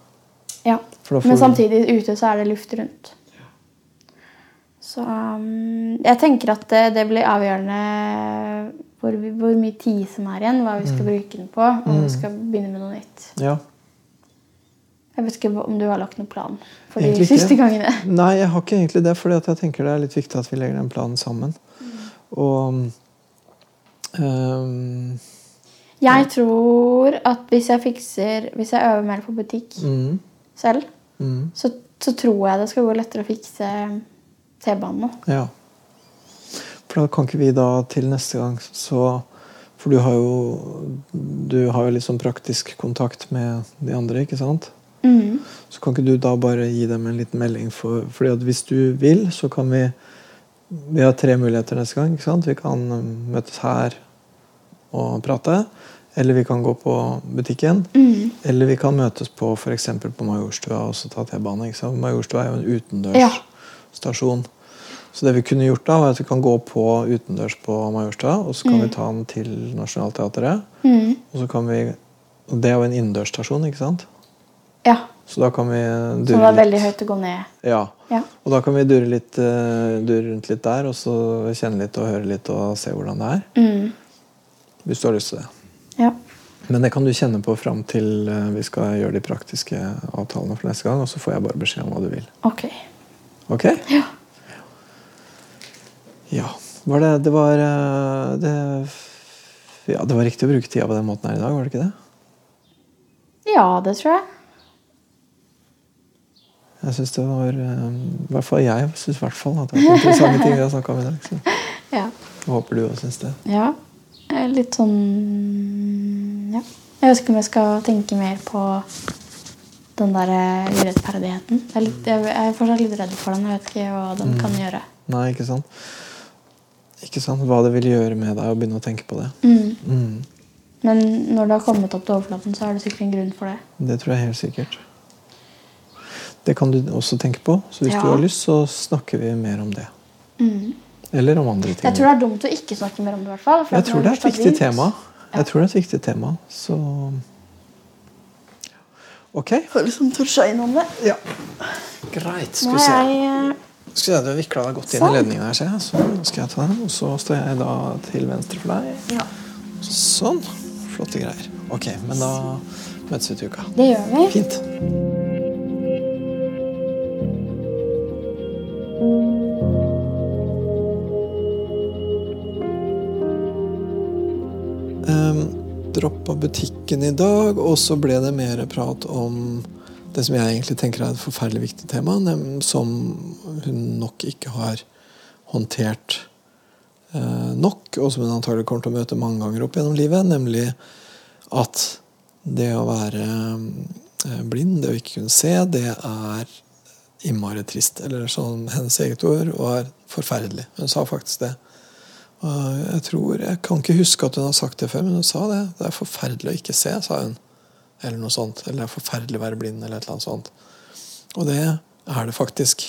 Speaker 3: ja.
Speaker 2: For da får
Speaker 3: Men
Speaker 2: du-
Speaker 3: samtidig, ute så er det luft rundt. Så um, jeg tenker at det, det blir avgjørende hvor, vi- hvor mye tid som er igjen, hva vi
Speaker 2: Mm.
Speaker 3: skal bruke den på, om vi skal begynne med noe nytt.
Speaker 2: Ja.
Speaker 3: Jeg vet ikke om du har lagt noen plan for de
Speaker 2: Egentlig ikke.
Speaker 3: siste gangene.
Speaker 2: Nei, jeg har ikke egentlig det, for jeg tenker det er litt viktig at vi legger den planen sammen.
Speaker 3: Mm.
Speaker 2: Og ehm, øhm,
Speaker 3: Jeg tror at hvis jeg fikser Hvis jeg øver mer på butikk
Speaker 2: mm,
Speaker 3: selv,
Speaker 2: mm,
Speaker 3: så, så tror jeg det skal gå lettere å fikse T-banen nå.
Speaker 2: Ja. For da kan ikke vi da til neste gang så For du har jo du har jo litt sånn praktisk kontakt med de andre, ikke sant?
Speaker 3: Mm.
Speaker 2: Så kan ikke du da bare gi dem en liten melding? For, fordi at hvis du vil, så kan vi Vi har tre muligheter neste gang. ikke sant? Vi kan um, møtes her og prate. Eller vi kan gå på butikken.
Speaker 3: mm,
Speaker 2: Eller vi kan møtes på for eksempel på Majorstua og så ta T-bane. ikke sant? Majorstua er jo en
Speaker 3: Ja.
Speaker 2: utendørsstasjon. Så det vi kunne gjort da, var at vi kan gå på utendørs på Majorstua, og så kan vi ta den til Nationaltheatret.
Speaker 3: Mm.
Speaker 2: Og så kan vi Og Det er jo en innendørsstasjon, ikke sant?
Speaker 3: Ja.
Speaker 2: Så da kan vi durre
Speaker 3: Så det var
Speaker 2: litt.
Speaker 3: veldig høyt å gå ned.
Speaker 2: Ja.
Speaker 3: Ja.
Speaker 2: Og da kan vi durre, litt, eh, durre rundt litt der, og så kjenne litt og høre litt og se hvordan det er.
Speaker 3: Mm.
Speaker 2: Hvis du har lyst til det.
Speaker 3: Ja.
Speaker 2: Men det kan du kjenne på fram til eh, vi skal gjøre de praktiske avtalene for neste gang, og så får jeg bare beskjed om hva du vil.
Speaker 3: Ok.
Speaker 2: Ok? Ja. Ja. Var det, det var eh, det, Ja, det var riktig å bruke tida på den måten her i dag, var det ikke det?
Speaker 3: Ja, det tror jeg.
Speaker 2: Jeg synes det var eh, I hvert fall jeg syns i hvert fall at det var interessante ting vi har snakka om i dag. Så
Speaker 3: Ja.
Speaker 2: jeg håper du òg syns det.
Speaker 3: ja. Eh, Litt sånn Ja. Jeg vet ikke om jeg skal tenke mer på den der eh, urettferdigheten. Jeg er, litt, jeg er fortsatt litt redd for den. Jeg vet ikke hva den kan gjøre.
Speaker 2: Nei, ikke sant? Ikke sant? Hva det vil gjøre med deg å begynne å tenke på det.
Speaker 3: Mm.
Speaker 2: Mm.
Speaker 3: Men når det har kommet opp til overflaten, så er det sikkert en grunn for det.
Speaker 2: Det tror jeg helt sikkert. Det kan du også tenke på. Så hvis
Speaker 3: Ja.
Speaker 2: du har lyst, så snakker vi mer om det.
Speaker 3: Mm.
Speaker 2: Eller om andre ting.
Speaker 3: Jeg tror det er dumt å ikke snakke mer om det. i hvert fall. for
Speaker 2: Jeg
Speaker 3: at
Speaker 2: tror
Speaker 3: når
Speaker 2: det er et
Speaker 3: først har
Speaker 2: viktig
Speaker 3: begynt-
Speaker 2: tema.
Speaker 3: Ja.
Speaker 2: Jeg tror det er et viktig tema. Så Ok.
Speaker 3: Har liksom toucha innom det.
Speaker 2: Ja. Greit. Skal
Speaker 3: Nå
Speaker 2: vi se.
Speaker 3: har jeg
Speaker 2: Skal vi se, Du har vikla deg godt inn
Speaker 3: Sånn.
Speaker 2: i ledningen her, ser jeg. Så skal jeg ta den. Og så står jeg da til venstre for deg.
Speaker 3: eh, Ja,
Speaker 2: Sånn. Flotte greier. Ok, men da møtes vi til uka.
Speaker 3: det gjør vi.
Speaker 2: Fint. Um, Droppa butikken i dag, og så ble det mer prat om det som jeg egentlig tenker er et forferdelig viktig tema, nem- som hun nok ikke har håndtert eh, nok, og som hun antagelig kommer til å møte mange ganger opp gjennom livet, nemlig at det å være eh, blind, det å ikke kunne se, det er innmari trist. Eller som hennes eget ord var forferdelig. Hun sa faktisk det. Og jeg tror, jeg kan ikke huske at hun har sagt det før, men hun sa det. Det er forferdelig å ikke se, sa hun. Eller noe sånt. Eller det er forferdelig å være blind, eller et eller annet sånt. Og det er det faktisk.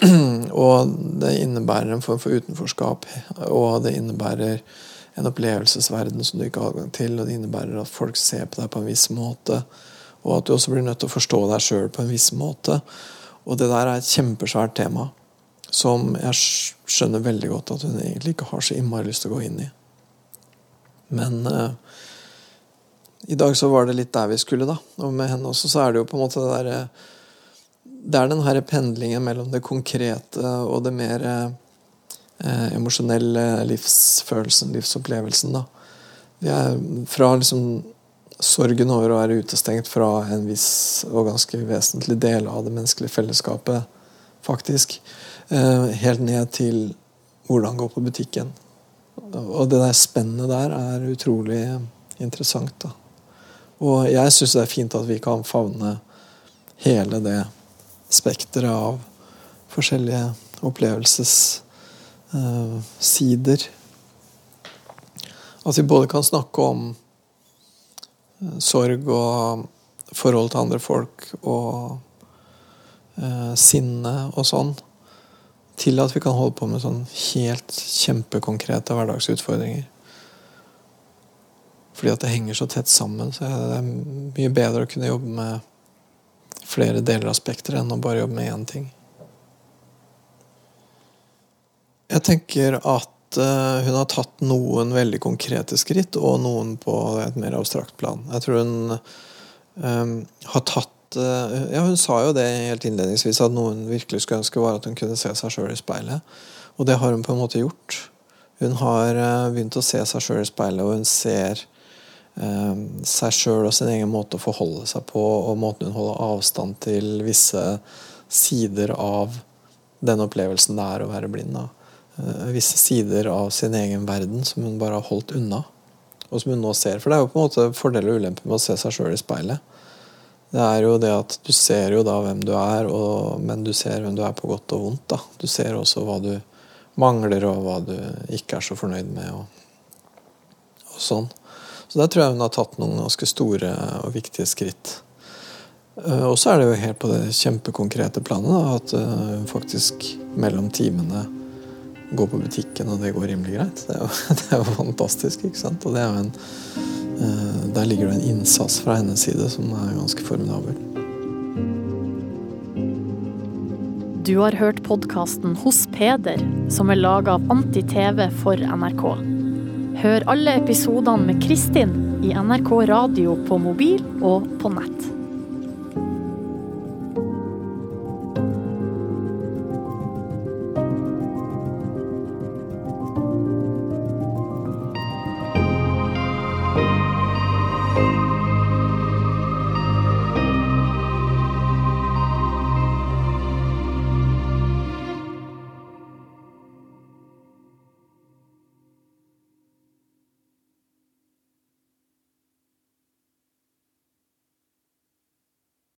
Speaker 2: og det innebærer en form for utenforskap. Og det innebærer en opplevelsesverden som du ikke har adgang til. Og det innebærer at folk ser på deg på en viss måte. Og at du også blir nødt til å forstå deg sjøl på en viss måte. Og det der er et kjempesvært tema som jeg skj- skjønner veldig godt at hun egentlig ikke har så innmari lyst til å gå inn i. Men eh, i dag så var det litt der vi skulle, da. Og med henne også så er det jo på en måte det eh, derre det er den her pendlingen mellom det konkrete og det mer eh, emosjonelle livsfølelsen, livsopplevelsen, da. Vi er fra liksom sorgen over å være utestengt fra en viss og ganske vesentlig del av det menneskelige fellesskapet, faktisk, eh, helt ned til hvordan gå på butikken. Og det der spennet der er utrolig interessant, da. Og jeg syns det er fint at vi kan favne hele det spekteret av forskjellige opplevelsessider. at vi både kan snakke om eh, sorg og forhold til andre folk og eh, sinne og sånn, til at vi kan holde på med sånn helt kjempekonkrete hverdagsutfordringer. Fordi at det henger så tett sammen, så det er mye bedre å kunne jobbe med flere deler av spekteret enn å bare jobbe med én ting. Jeg tenker at eh, hun har tatt noen veldig konkrete skritt, og noen på et mer abstrakt plan. Jeg tror hun eh, har tatt eh, Ja, hun sa jo det helt innledningsvis, at noen virkelig skulle ønske var at hun kunne se seg sjøl i speilet. Og det har hun på en måte gjort. Hun har eh, begynt å se seg sjøl i speilet, og hun ser eh, seg sjøl og sin egen måte å forholde seg på, og måten hun holder avstand til visse sider av den opplevelsen det er å være blind. Da. Eh, Visse sider av sin egen verden som hun bare har holdt unna. Og som hun nå ser. For det er jo på en måte fordel og ulempe med å se seg sjøl i speilet. Det er jo det at du ser jo da hvem du er, og, men du ser hvem du er på godt og vondt. Da. Du ser også hva du mangler, og hva du ikke er så fornøyd med. Og, og sånn. Så der tror jeg hun har tatt noen ganske store og viktige skritt. Eh, Og så er det jo helt på det kjempekonkrete planet da, at eh, hun faktisk mellom timene går på butikken, og det går rimelig greit. Det er jo, det er jo fantastisk, ikke sant? Og det er jo en eh, der ligger det en innsats fra hennes side som er ganske formidabel.
Speaker 4: Du har hørt podkasten Hos Peder, som er laga av Anti-TV for NRK. Hør alle episodene med Kristin i NRK Radio på mobil og på nett.